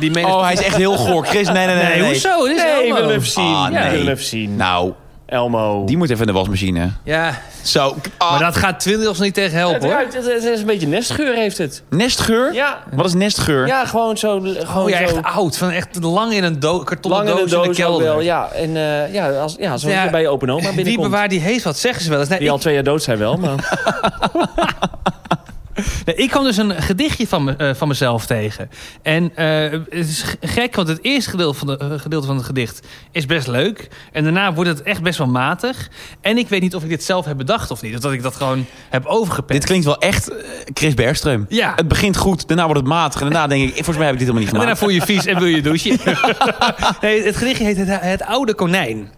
Speaker 1: die mensen...
Speaker 2: Oh, hij is echt heel goor. Chris, nee, nee, nee.
Speaker 1: nee,
Speaker 2: nee, nee.
Speaker 1: hoezo? Dit is
Speaker 4: Nee, ik
Speaker 1: Elmo.
Speaker 4: wil hem even zien.
Speaker 2: Ah,
Speaker 4: Ik
Speaker 2: nee.
Speaker 4: wil hem even zien.
Speaker 2: Nou,
Speaker 4: Elmo.
Speaker 2: die moet even in de wasmachine.
Speaker 1: Ja,
Speaker 2: Zo. ah,
Speaker 1: maar dat gaat Twindeels niet tegen
Speaker 4: het,
Speaker 1: helpen, hoor.
Speaker 4: ruikt, het, het is een beetje nestgeur heeft het.
Speaker 2: Nestgeur?
Speaker 4: Ja,
Speaker 2: Wat is nestgeur?
Speaker 4: ja gewoon zo, gewoon
Speaker 1: Oh ja,
Speaker 4: zo
Speaker 1: echt oud. Van echt lang in een do- kartonnen
Speaker 4: lang in de
Speaker 1: doos, in de
Speaker 4: doos ook
Speaker 1: kelder.
Speaker 4: wel. Ja, en eh, ja, als, ja, zoals
Speaker 1: Ja,
Speaker 4: je bij je open oma
Speaker 1: Die
Speaker 4: binnenkomt.
Speaker 1: bewaar die hees wat, zeggen ze wel eens. Nee,
Speaker 4: Die al
Speaker 1: ik,
Speaker 4: twee jaar dood zijn wel, maar...
Speaker 1: nee, ik kwam dus een gedichtje van, me, eh, van mezelf tegen. En eh, het is g- gek, want het eerste gedeelte van, de, eh, gedeelte van het gedicht is best leuk. En daarna wordt het echt best wel matig. En ik weet niet of ik dit zelf heb bedacht of niet. Of dat ik dat gewoon heb overgepikt.
Speaker 2: Dit klinkt wel echt eh, Chris Bergström.
Speaker 1: Ja.
Speaker 2: Het begint goed, daarna wordt het matig. En daarna denk ik, eh, volgens mij heb ik dit helemaal niet
Speaker 1: En daarna voel
Speaker 2: gemaakt.
Speaker 1: je je vies en wil je douchen. nee, het gedichtje heet het, het Oude Konijn.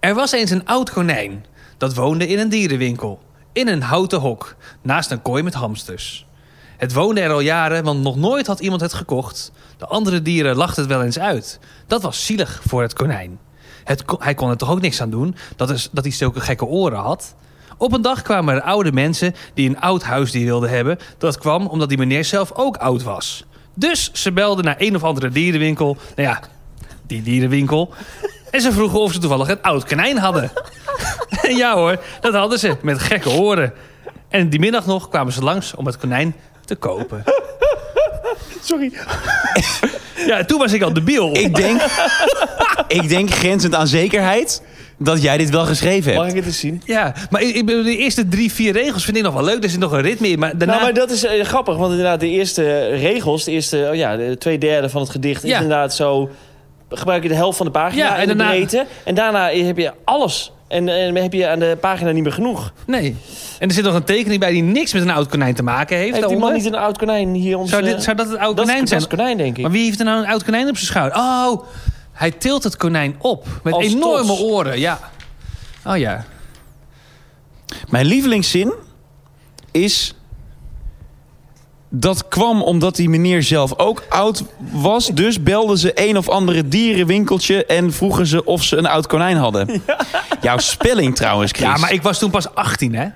Speaker 1: Er was eens een oud konijn. Dat woonde in een dierenwinkel. In een houten hok. Naast een kooi met hamsters. Het woonde er al jaren, want nog nooit had iemand het gekocht. De andere dieren lachten het wel eens uit. Dat was zielig voor het konijn. Het, ko- hij kon er toch ook niks aan doen dat, is, dat hij zulke gekke oren had? Op een dag kwamen er oude mensen die een oud huisdier wilden hebben. Dat kwam omdat die meneer zelf ook oud was. Dus ze belden naar een of andere dierenwinkel. Nou ja, die dierenwinkel. En ze vroegen of ze toevallig een oud konijn hadden. En ja hoor, dat hadden ze, met gekke oren. En die middag nog kwamen ze langs om het konijn te kopen.
Speaker 4: Sorry.
Speaker 1: Ja, toen was ik al debiel.
Speaker 2: Ik denk, ik denk grenzend aan zekerheid dat jij dit wel geschreven
Speaker 4: Mag
Speaker 2: hebt.
Speaker 4: ik het eens zien?
Speaker 1: Ja, maar ik, ik bedoel, de eerste drie, vier regels vind ik nog wel leuk. Er zit nog een ritme in, maar daarna...
Speaker 4: Nou, maar dat is eh, grappig, want inderdaad, de eerste eh, regels, de eerste, oh ja, de twee derde van het gedicht is
Speaker 1: Ja.
Speaker 4: inderdaad zo. Gebruik je de helft van de pagina
Speaker 1: Ja, en
Speaker 4: en de
Speaker 1: daarna-
Speaker 4: breedte. En daarna heb je alles. En, en heb je aan de pagina niet meer genoeg.
Speaker 1: Nee. En er zit nog een tekening bij die niks met een oud konijn te maken heeft.
Speaker 4: Heeft die man
Speaker 1: daaronder.
Speaker 4: niet een oud konijn hier ons?
Speaker 1: zou,
Speaker 4: eh,
Speaker 1: dit, zou dat het oud
Speaker 4: dat is-
Speaker 1: konijn
Speaker 4: dat
Speaker 1: zijn?
Speaker 4: is konijn, denk ik.
Speaker 1: Maar wie heeft er nou een oud konijn op zijn schouder? Oh, hij tilt het konijn op. Met
Speaker 4: Als
Speaker 1: enorme
Speaker 4: trots.
Speaker 1: oren, ja. Oh ja.
Speaker 2: Mijn lievelingszin is... Dat kwam omdat die meneer zelf ook oud was. Dus belden ze een of andere dierenwinkeltje... en vroegen ze of ze een oud konijn hadden. Jouw spelling trouwens, Chris.
Speaker 1: Ja, maar ik was toen pas 18, hè?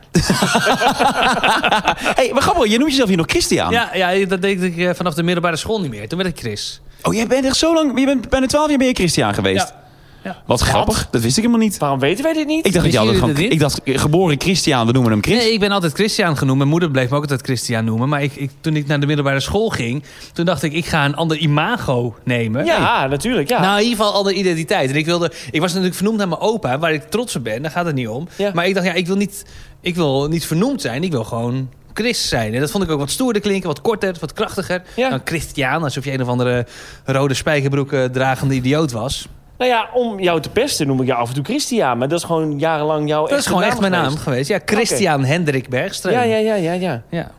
Speaker 2: hey, maar grappig, je noemt jezelf hier nog Christian.
Speaker 1: Ja, ja dat deed ik eh, vanaf de middelbare school niet meer. Toen werd ik Chris.
Speaker 2: Oh, jij bent echt zo lang... Je bent bijna 12 jaar ben je Christian geweest.
Speaker 1: Ja. Ja.
Speaker 2: Wat grappig, dat wist ik helemaal niet.
Speaker 4: Waarom weten wij dit niet?
Speaker 2: Ik dacht, dat
Speaker 1: Wisten
Speaker 2: jij altijd
Speaker 1: jullie
Speaker 2: gewoon,
Speaker 1: dat niet?
Speaker 2: ik dacht, geboren Christian, we noemen hem Chris.
Speaker 1: Nee, ik ben altijd Christian genoemd. Mijn moeder bleef me ook altijd Christian noemen. Maar ik, ik, toen ik naar de middelbare school ging, toen dacht ik, ik ga een ander imago nemen.
Speaker 4: ja, natuurlijk. Ja.
Speaker 1: Nou, in ieder geval andere identiteit. En ik wilde, ik was natuurlijk vernoemd naar mijn opa, waar ik trots op ben. Daar gaat het niet om.
Speaker 4: Ja.
Speaker 1: Maar ik dacht, ja, ik wil niet, ik wil niet vernoemd zijn. Ik wil gewoon Chris zijn. En dat vond ik ook wat stoerder klinken, wat korter, wat krachtiger
Speaker 4: Ja.
Speaker 1: dan Christian, alsof je een of andere rode spijkerbroek eh, dragende idioot was.
Speaker 4: nou ja, om jou te pesten noem ik jou af en toe Christian. Maar dat is gewoon jarenlang jouw
Speaker 1: Dat is gewoon echt mijn naam geweest. Ja, Christian Hendrik Bergström.
Speaker 4: Ja, ja, ja, ja, ja.
Speaker 1: Ja.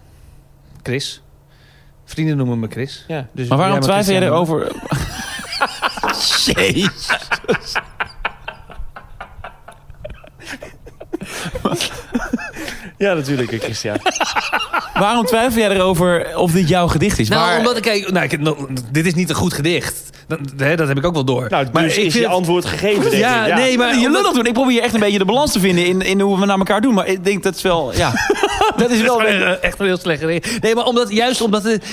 Speaker 1: Chris. Vrienden noemen me Chris.
Speaker 4: ja.
Speaker 1: Dus
Speaker 2: Maar waarom
Speaker 1: jij
Speaker 2: twijfel jij
Speaker 1: Christian noemen.
Speaker 2: erover? Jezus.
Speaker 4: Ja, natuurlijk, eh, Christian.
Speaker 2: Waarom twijfel jij erover of dit jouw gedicht is?
Speaker 1: Nou,
Speaker 2: Waar-
Speaker 1: omdat ik kijk, nou, ik, nou, dit is niet een goed gedicht. Dat, hè, dat heb ik ook wel door.
Speaker 4: nou, dus
Speaker 1: maar
Speaker 4: is
Speaker 1: ik
Speaker 4: je
Speaker 1: vind-
Speaker 4: antwoord gegeven, denk
Speaker 1: Ja,
Speaker 4: ik.
Speaker 1: nee, maar-
Speaker 2: je lullig doen. Ik probeer hier echt een beetje de balans te vinden in, in hoe we naar elkaar doen. Maar ik denk dat is wel, ja. Dat is wel...
Speaker 1: Dat is wel echt een heel slecht reden. Nee, maar omdat, juist omdat het,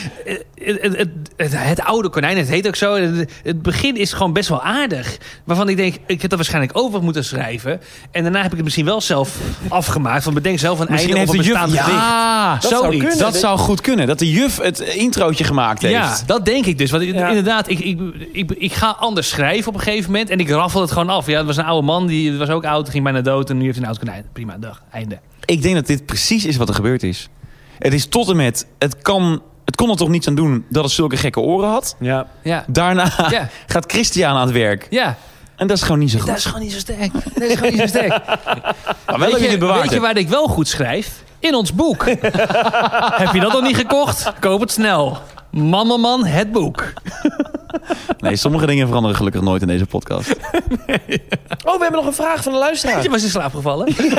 Speaker 1: het, het, het- het oude konijn, het heet ook zo. Het, het begin is gewoon best wel aardig. Waarvan ik denk, ik heb dat waarschijnlijk over moeten schrijven. En daarna heb ik het misschien wel zelf afgemaakt. Van bedenk zelf een
Speaker 2: Misschien
Speaker 1: einde
Speaker 2: heeft
Speaker 1: op een
Speaker 2: de juf...
Speaker 1: bestaand gedicht.
Speaker 2: Ja,
Speaker 4: Dat zou
Speaker 2: zoiets.
Speaker 4: kunnen.
Speaker 2: Dat zou goed kunnen. Dat de juf het introotje gemaakt heeft.
Speaker 1: Ja, dat denk ik dus. Want i-
Speaker 4: Ja.
Speaker 1: inderdaad, ik, ik, ik, ik ga anders schrijven op een gegeven moment. En ik raffel het gewoon af. Ja, het was een oude man, die was ook oud, ging bijna dood. En nu heeft hij een oud konijn. Prima, dag, einde.
Speaker 2: Ik denk dat dit precies is wat er gebeurd is. Het is tot en met... Het, kan, het kon er toch niets aan doen dat het zulke gekke oren had?
Speaker 4: Ja.
Speaker 1: Ja,
Speaker 2: Daarna
Speaker 1: Ja.
Speaker 2: gaat Christian aan het werk.
Speaker 1: ja.
Speaker 2: En dat is gewoon niet zo goed.
Speaker 1: dat is gewoon niet zo sterk. Dat is gewoon niet zo sterk.
Speaker 2: maar wel dat je het bewaard
Speaker 1: weet je
Speaker 2: hebt.
Speaker 1: waar ik wel goed schrijf? In ons boek. Heb je dat nog niet gekocht? Koop het snel. Mammeman, het boek.
Speaker 2: Nee, sommige dingen veranderen gelukkig nooit in deze podcast.
Speaker 4: Oh, we hebben nog een vraag van de luisteraar.
Speaker 1: Je was in slaap gevallen. nee,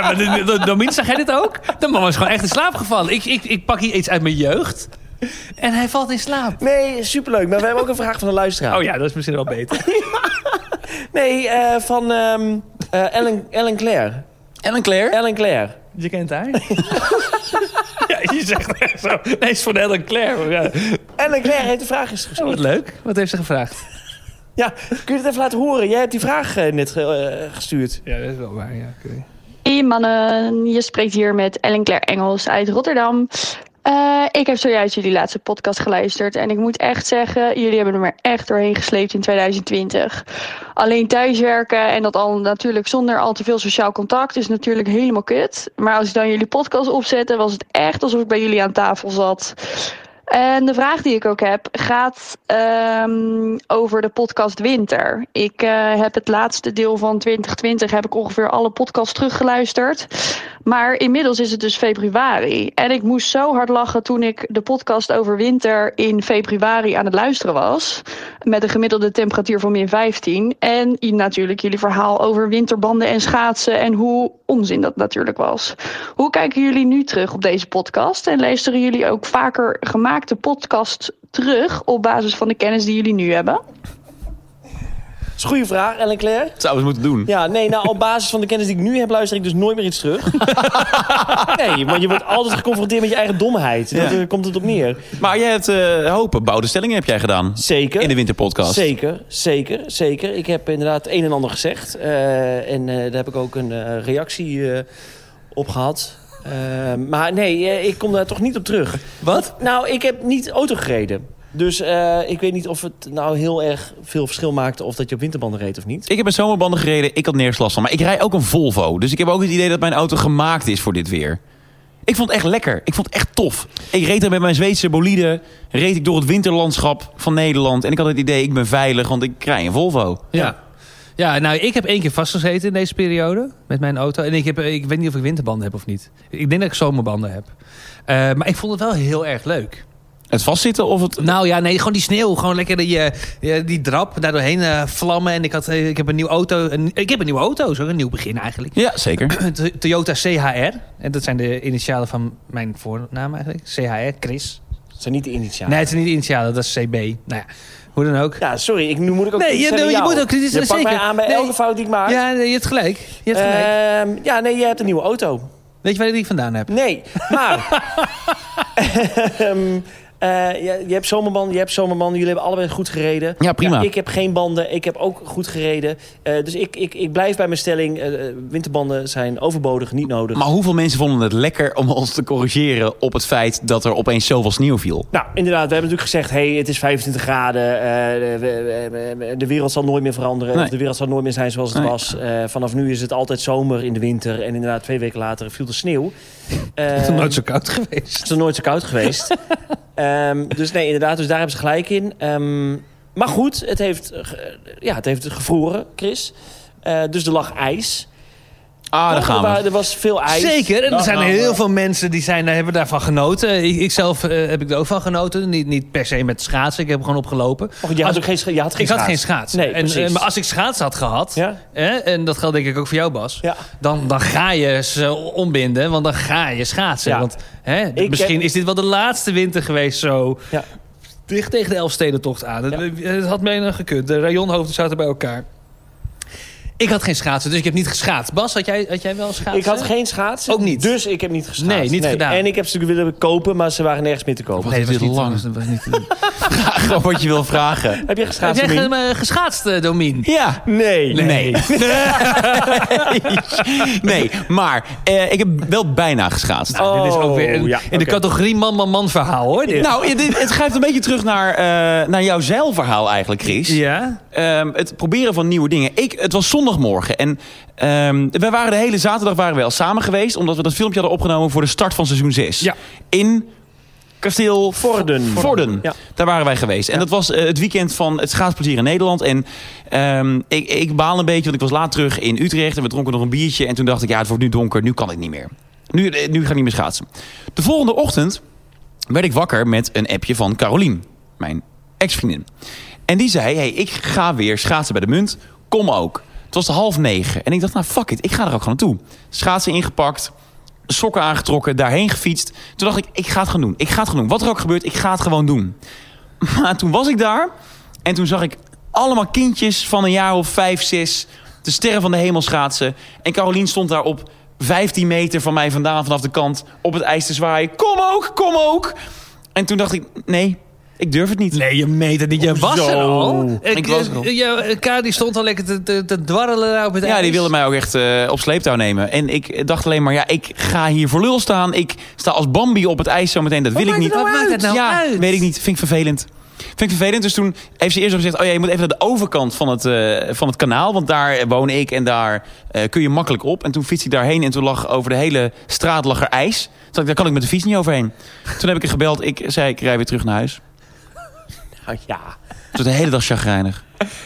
Speaker 1: maar de- de- de- Domien, zag jij dit ook? De man was gewoon echt in slaap gevallen. Ik, ik, ik pak hier iets uit mijn jeugd. En hij valt in slaap.
Speaker 4: Nee, superleuk. Maar we hebben ook een vraag van de luisteraar.
Speaker 1: Oh ja, dat is misschien wel beter.
Speaker 4: Nee, eh, van ehm, eh, Ellen, Ellen Claire.
Speaker 2: Ellen Claire?
Speaker 4: Ellen Claire.
Speaker 1: Je kent haar? ja, je zegt echt zo. Nee, het is van Ellen Claire. Ja.
Speaker 4: Ellen Claire heeft de vraag eens
Speaker 1: Oh,
Speaker 4: gestuurd.
Speaker 1: wat leuk. Wat heeft ze gevraagd?
Speaker 4: Ja, kun je het even laten horen? Jij hebt die vraag eh, net ge- eh, gestuurd.
Speaker 1: Ja, dat is wel waar. Ja,
Speaker 5: Hey mannen, je spreekt hier met Ellen Claire Engels uit Rotterdam. Eh, ik heb zojuist jullie laatste podcast geluisterd en ik moet echt zeggen, jullie hebben er maar echt doorheen gesleept in 2020. Alleen thuiswerken en dat al natuurlijk zonder al te veel sociaal contact is natuurlijk helemaal kut. Maar als ik dan jullie podcast opzette, was het echt alsof ik bij jullie aan tafel zat. En de vraag die ik ook heb gaat ehm, over de podcast Winter. Ik eh, heb het laatste deel van 2020 heb ik ongeveer alle podcasts teruggeluisterd. Maar inmiddels is het dus februari. En ik moest zo hard lachen toen ik de podcast over winter in februari aan het luisteren was. Met een gemiddelde temperatuur van min 15. En i- natuurlijk jullie verhaal over winterbanden en schaatsen en hoe onzin dat natuurlijk was. Hoe kijken jullie nu terug op deze podcast? En luisteren jullie ook vaker gemaakte podcasts terug op basis van de kennis die jullie nu hebben?
Speaker 4: Dat is een goede vraag, Ellen Claire.
Speaker 2: Zouden we eens moeten doen.
Speaker 4: Ja, nee, nou, op basis van de kennis die ik nu heb, luister ik dus nooit meer iets terug. nee, want je wordt altijd geconfronteerd met je eigen domheid. Dat,
Speaker 2: Ja.
Speaker 4: eh, komt het op neer.
Speaker 2: Maar jij hebt eh, hopen, bouwde stellingen heb jij gedaan.
Speaker 4: Zeker.
Speaker 2: In de winterpodcast.
Speaker 4: Zeker, zeker, zeker. Ik heb inderdaad het een en ander gezegd. eh, en eh, daar heb ik ook een eh, reactie eh, op gehad. Eh, maar nee, eh, ik kom daar toch niet op terug.
Speaker 1: Wat?
Speaker 4: Nou, ik heb niet auto gereden. Dus eh, ik weet niet of het nou heel erg veel verschil maakte... of dat je op winterbanden reed of niet.
Speaker 2: Ik heb met zomerbanden gereden, ik had nergens last van. Maar ik rij ook een Volvo, dus ik heb ook het idee dat mijn auto gemaakt is voor dit weer. Ik vond het echt lekker, ik vond het echt tof. Ik reed er met mijn Zweedse bolide, reed ik door het winterlandschap van Nederland. En ik had het idee, ik ben veilig, want ik rij een Volvo.
Speaker 1: Ja. Ja, nou, ik heb één keer vastgezeten in deze periode met mijn auto. En ik, heb, ik weet niet of ik winterbanden heb of niet. Ik denk dat ik zomerbanden heb. Eh, maar ik vond het wel heel erg leuk.
Speaker 2: Het vastzitten of het...
Speaker 1: Nou ja, nee, gewoon die sneeuw. Gewoon lekker die, eh, eh, die drap, daar doorheen eh, vlammen. En ik, had, eh, ik heb een nieuwe auto. Een, ik heb een nieuwe auto, zo een nieuw begin eigenlijk.
Speaker 2: Ja, zeker.
Speaker 1: Een To- Toyota CHR. En dat zijn de initialen van mijn voornaam eigenlijk. CHR, Chris.
Speaker 4: Dat zijn niet de initialen.
Speaker 1: Nee, het zijn niet de initialen, dat is CB. Nou ja, hoe dan ook.
Speaker 4: Ja, sorry, ik, nu moet ik ook
Speaker 1: Nee,
Speaker 4: kritisch
Speaker 1: je-
Speaker 4: zijn aan
Speaker 1: je
Speaker 4: jou.
Speaker 1: moet ook kritisch
Speaker 4: Je
Speaker 1: zijn,
Speaker 4: pakt mij
Speaker 1: zeker.
Speaker 4: aan bij
Speaker 1: Nee.
Speaker 4: elke fout die ik maak.
Speaker 1: Ja, nee, je hebt gelijk. Je hebt gelijk.
Speaker 4: Ehm, ja, nee, je hebt een nieuwe auto.
Speaker 1: Weet je waar ik die vandaan heb?
Speaker 4: Nee, maar. Ehm, eh, je, je hebt zomerbanden, je hebt zomerbanden. Jullie hebben allebei goed gereden.
Speaker 2: Ja, prima.
Speaker 4: ik heb geen banden, ik heb ook goed gereden. Eh, dus ik, ik, ik blijf bij mijn stelling. eh, eh, winterbanden zijn overbodig, niet nodig.
Speaker 2: Maar hoeveel mensen vonden het lekker om ons te corrigeren op het feit dat er opeens zoveel sneeuw viel?
Speaker 4: Nou, inderdaad, we hebben natuurlijk gezegd... hey, het is 25 graden, eh, we- we- we- de wereld zal nooit meer veranderen...
Speaker 2: Nee.
Speaker 4: of de wereld zal nooit meer zijn zoals het
Speaker 2: Nee.
Speaker 4: was. Eh, vanaf nu is het altijd zomer in de winter... en inderdaad, twee weken later viel de sneeuw.
Speaker 1: Het
Speaker 4: Eh,
Speaker 1: is nooit zo koud geweest.
Speaker 4: Het is nog nooit zo koud geweest. Ehm, dus nee, inderdaad, dus daar hebben ze gelijk in. Ehm, maar goed, het heeft, eh, ge- ja, het heeft gevroren, Chris. Eh, dus er lag ijs.
Speaker 2: Ah, daar gaan
Speaker 4: Er, wa-
Speaker 2: we.
Speaker 4: er was veel ijs.
Speaker 1: Zeker, en er
Speaker 2: Nou,
Speaker 1: zijn
Speaker 2: nou,
Speaker 1: heel
Speaker 2: nou.
Speaker 1: veel mensen die zijn, hebben daarvan genoten. Ik, ik zelf eh, heb ik er ook van genoten. Niet, niet per se met schaatsen, ik heb gewoon opgelopen.
Speaker 4: Maar goed, Oh, je had
Speaker 1: Als-
Speaker 4: ook geen, scha- je had geen
Speaker 1: Ik had
Speaker 4: schaats.
Speaker 1: geen schaats.
Speaker 4: Nee,
Speaker 1: en,
Speaker 4: precies.
Speaker 1: eh, maar als ik schaats had gehad,
Speaker 4: Ja?
Speaker 1: hè, en dat geldt denk ik ook voor jou Bas...
Speaker 4: Ja.
Speaker 1: Dan, dan ga je ze ombinden, want dan ga je schaatsen.
Speaker 4: Ja.
Speaker 1: Want hè, d-
Speaker 4: Ik
Speaker 1: misschien
Speaker 4: heb-
Speaker 1: is dit wel de laatste winter geweest zo...
Speaker 4: Ja.
Speaker 1: dicht tegen de Elfstedentocht aan. Het, het had mij nog gekund. De rayonhoofden zaten bij elkaar. Ik had geen schaatsen, dus ik heb niet geschaatst. Bas, had jij, had jij wel schaatsen?
Speaker 4: Ik had geen schaats.
Speaker 1: Ook niet.
Speaker 4: Dus ik heb niet geschaatst.
Speaker 1: Nee, niet gedaan.
Speaker 4: En ik heb ze willen kopen, maar ze waren nergens meer te kopen.
Speaker 2: Wat
Speaker 1: Nee, dat
Speaker 2: is
Speaker 1: was
Speaker 2: dit
Speaker 1: niet
Speaker 2: lang?
Speaker 1: dat was niet-
Speaker 2: Gewoon wat je wil vragen.
Speaker 4: Heb je
Speaker 1: Heb
Speaker 4: geschaatst?
Speaker 1: jij
Speaker 4: Domien?
Speaker 1: hem eh, geschaatst, eh, Domien?
Speaker 2: Ja.
Speaker 4: Nee.
Speaker 2: Nee. nee, maar eh, ik heb wel bijna geschaatst.
Speaker 4: Oh,
Speaker 1: dit is ook weer een-
Speaker 4: ja,
Speaker 1: in de
Speaker 4: oké.
Speaker 1: categorie man-man-man verhaal, hoor. dit.
Speaker 2: Nou, ja, dit- het grijpt een beetje terug naar, eh, naar jouw zeilverhaal eigenlijk, Chris.
Speaker 1: Ja.
Speaker 2: Ehm, het proberen van nieuwe dingen. Ik, het was zondagmorgen en ehm, we waren de hele zaterdag waren we al samen geweest... omdat we dat filmpje hadden opgenomen voor de start van seizoen 6.
Speaker 1: Ja.
Speaker 2: In kasteel
Speaker 4: Vorden.
Speaker 2: Vorden.
Speaker 4: Ja.
Speaker 2: Daar waren wij geweest. En dat was eh, het weekend van het schaatsplezier in Nederland. En ehm, ik, ik baal een beetje, want ik was laat terug in Utrecht. En we dronken nog een biertje. En toen dacht ik, ja, het wordt nu donker. Nu kan ik niet meer. Nu, eh, nu ga ik niet meer schaatsen. De volgende ochtend werd ik wakker met een appje van Carolien. Mijn ex-vriendin. En die zei, hey, ik ga weer schaatsen bij de munt. Kom ook. Het was half negen. En ik dacht, nou fuck it, ik ga er ook gewoon naartoe. Schaatsen ingepakt, sokken aangetrokken, daarheen gefietst. Toen dacht ik, ik ga het gaan doen. Ik ga het gaan doen. Wat er ook gebeurt, ik ga het gewoon doen. Maar toen was ik daar en toen zag ik allemaal kindjes van een jaar of vijf, zes... de sterren van de hemel schaatsen. En Carolien stond daar op 15 meter van mij vandaan vanaf de kant... op het ijs te zwaaien. Kom ook, kom ook! En toen dacht ik, nee, ik durf het niet.
Speaker 1: Nee, je meet het niet. Je was er al. eh,
Speaker 2: Ik was er al.
Speaker 1: Ja, K die stond al lekker te, te, te dwarrelen daar op het
Speaker 2: Ja, die
Speaker 1: ijs.
Speaker 2: wilde mij ook echt eh, op sleeptouw nemen. En ik dacht alleen maar, ja, ik ga hier voor lul staan. Ik sta als Bambi op het ijs zometeen. Dat wil ik
Speaker 1: maakt
Speaker 2: niet.
Speaker 1: het nou Wat maakt uit? het nou
Speaker 2: ja,
Speaker 1: uit?
Speaker 2: weet ik niet. Vind ik vervelend. Vind ik vervelend. Dus toen heeft ze eerst nog gezegd, oh ja, je moet even naar de overkant van het, eh, van het kanaal. Want daar woon ik en daar eh, kun je makkelijk op. En toen fiets ik daarheen en toen lag over de hele straat lag er ijs. Toen dacht ik, daar kan ik met de fiets niet overheen. Toen heb ik er gebeld. Ik zei, ik rij weer terug naar huis.
Speaker 4: Nou ja.
Speaker 2: Toen de hele dag chagrijnig.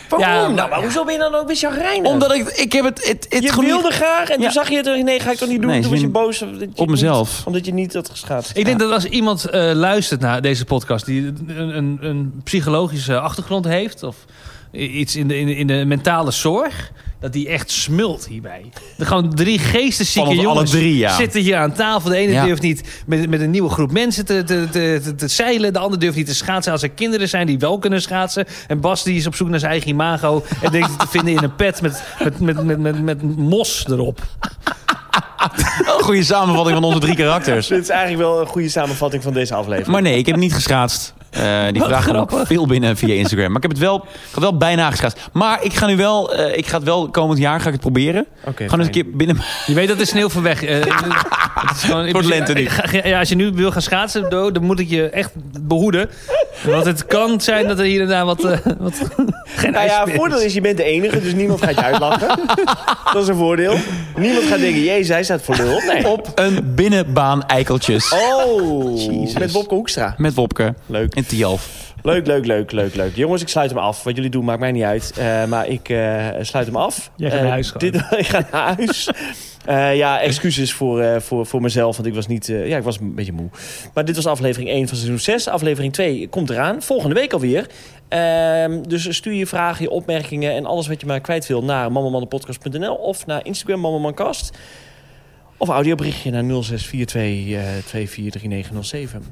Speaker 4: Waarom?
Speaker 1: Ja, maar-
Speaker 4: nou, maar hoezo ben je dan ook weer chagrijnig?
Speaker 2: Omdat ik, ik heb het, het, het
Speaker 4: je
Speaker 2: gewoon niet-
Speaker 4: wilde graag en
Speaker 2: Ja.
Speaker 4: toen zag je het. en Nee, ga ik toch niet doen.
Speaker 2: Nee, ze
Speaker 4: toen was je
Speaker 2: winnen-
Speaker 4: boos. omdat je
Speaker 2: op mezelf.
Speaker 4: niet- omdat je niet had geschaatst.
Speaker 1: Ik denk dat als iemand eh, luistert naar deze podcast... die een, een, een psychologische achtergrond heeft... of i- iets in de, in de, in de mentale zorg... dat die echt smult hierbij. Er gewoon drie geesteszieke
Speaker 2: Van ons alle
Speaker 1: jongens
Speaker 2: drie, ja.
Speaker 1: zitten hier aan tafel. De ene
Speaker 2: Ja.
Speaker 1: durft niet met, met een nieuwe groep mensen te, te, te, te, te zeilen. De ander durft niet te schaatsen als er kinderen zijn die wel kunnen schaatsen. En Bas die is op zoek naar zijn eigen imago... en denkt het te vinden in een pet met, met, met, met, met, met mos erop.
Speaker 2: Een Oh, goede samenvatting van onze drie karakters.
Speaker 4: Dit is eigenlijk wel een goede samenvatting van deze aflevering.
Speaker 2: Maar nee, ik heb niet geschaatst. Eh, die vragen kwam ook veel binnen via Instagram. Maar ik heb het wel, ik had wel bijna geschaatst. Maar ik ga nu wel, eh, ik ga het wel komend jaar ga ik het proberen.
Speaker 4: Oké,
Speaker 2: Gewoon eens
Speaker 4: fijn.
Speaker 2: een keer binnen.
Speaker 1: Je weet dat de sneeuw van weg. eh, het is gewoon-
Speaker 2: Wordt lente nu.
Speaker 1: Ga- ga- Ja, als je nu wil gaan schaatsen, Do, dan moet ik je echt behoeden. Want het kan zijn dat er hier en daar wat... eh, wat geen
Speaker 4: Nou ja,
Speaker 1: ijs
Speaker 4: het
Speaker 1: meer
Speaker 4: voordeel
Speaker 1: is.
Speaker 4: is, je bent de enige, dus niemand gaat je uitlachen. dat is een voordeel. Niemand gaat denken, jee, zij staat voor lul. Nee.
Speaker 2: Op een binnenbaan eikeltjes.
Speaker 4: Oh,
Speaker 2: Jezus.
Speaker 4: met Bobke Hoekstra.
Speaker 2: Met Wopke
Speaker 4: Leuk.
Speaker 2: en Tialf.
Speaker 4: Leuk, leuk, leuk, leuk, leuk. Jongens, ik sluit hem af. Wat jullie doen maakt mij niet uit. Eh, maar ik eh, sluit hem af.
Speaker 1: Jij gaat naar
Speaker 4: Eh,
Speaker 1: huis gewoon.
Speaker 4: dit, Ik ga naar huis. Eh, ja, excuses voor, eh, voor, voor mezelf, want ik was, niet, eh, ja, ik was een beetje moe. Maar dit was aflevering 1 van seizoen 6. Aflevering 2 komt eraan, volgende week alweer. Ehm, dus stuur je vragen, je opmerkingen en alles wat je maar kwijt wil... naar mammamannenpodcast.nl of naar Instagram mammamancast. Of een audioberichtje naar 0642 eh, 243907.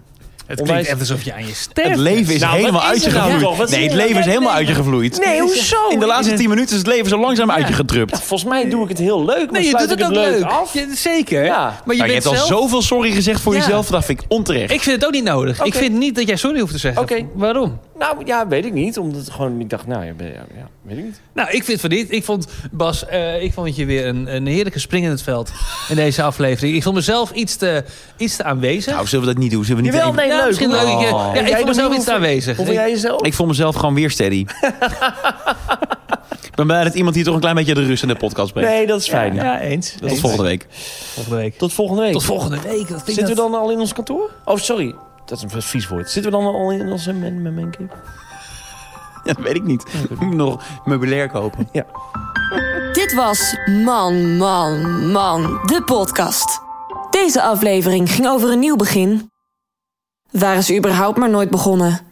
Speaker 1: Het
Speaker 4: Onwijs-
Speaker 1: klinkt echt alsof je aan je
Speaker 2: Het
Speaker 1: sterft.
Speaker 2: leven is
Speaker 4: Nou, wat
Speaker 2: helemaal
Speaker 4: is er nou toch? Wat
Speaker 2: uitgevloeid.
Speaker 4: zie
Speaker 2: Nee,
Speaker 4: je
Speaker 2: het
Speaker 4: nou
Speaker 2: leven is
Speaker 4: net
Speaker 2: helemaal
Speaker 4: denken?
Speaker 2: uitgevloeid.
Speaker 4: Nee, hoezo?
Speaker 2: In de laatste tien minuten is het leven zo langzaam uitgedrupt.
Speaker 4: Volgens mij doe ik het heel leuk. maar
Speaker 1: Nee, je
Speaker 4: sluit
Speaker 1: doet het
Speaker 4: ik
Speaker 1: ook leuk.
Speaker 4: af.
Speaker 1: Ja, zeker.
Speaker 4: Ja.
Speaker 1: Maar je,
Speaker 2: Maar Nou, je
Speaker 1: bent
Speaker 2: hebt al
Speaker 1: zelf...
Speaker 2: zoveel sorry gezegd voor
Speaker 1: Ja.
Speaker 2: jezelf. Dat vind ik onterecht.
Speaker 1: Ik vind het ook niet nodig. Ik
Speaker 4: Oké.
Speaker 1: vind niet dat jij sorry hoeft te zeggen.
Speaker 4: Oké.
Speaker 1: Waarom?
Speaker 4: Nou ja, weet ik niet. Omdat het gewoon, ik dacht, nou ja, ben- ja, ja, weet ik niet.
Speaker 1: Nou, ik vind van niet. Ik vond, Bas, eh, ik vond je weer een, een heerlijke spring in het veld in deze aflevering. Ik vond mezelf iets te, iets te aanwezig.
Speaker 2: Nou, zullen we dat niet doen? Zullen we niet
Speaker 4: Jawel,
Speaker 2: even-
Speaker 4: nee,
Speaker 1: ja,
Speaker 4: leuk.
Speaker 1: misschien
Speaker 4: hoor.
Speaker 1: leuk. Ik, eh,
Speaker 2: Oh.
Speaker 1: Ja, ik
Speaker 4: Jij
Speaker 1: vond
Speaker 4: nog
Speaker 1: mezelf
Speaker 4: niet?
Speaker 1: iets te aanwezig.
Speaker 4: Hoe vind jij jezelf?
Speaker 2: Ik voel mezelf gewoon weer steady. Ik ben blij dat iemand hier toch een klein beetje de rust in de podcast brengt.
Speaker 4: Nee, dat is fijn.
Speaker 1: Ja, eens.
Speaker 2: Tot volgende week.
Speaker 1: volgende week.
Speaker 4: Tot volgende week.
Speaker 1: Tot volgende week. Dat nou
Speaker 4: Zitten we dan al in ons kantoor? Oh, sorry. Dat is een vies woord. Zitten we dan al in onze men, men, menke?
Speaker 2: Ja, dat weet ik niet. Ik moet nog meubilair kopen.
Speaker 3: Dit was Man, Man, Man, de podcast. Deze aflevering ging over een nieuw begin. Waren ze überhaupt maar nooit begonnen?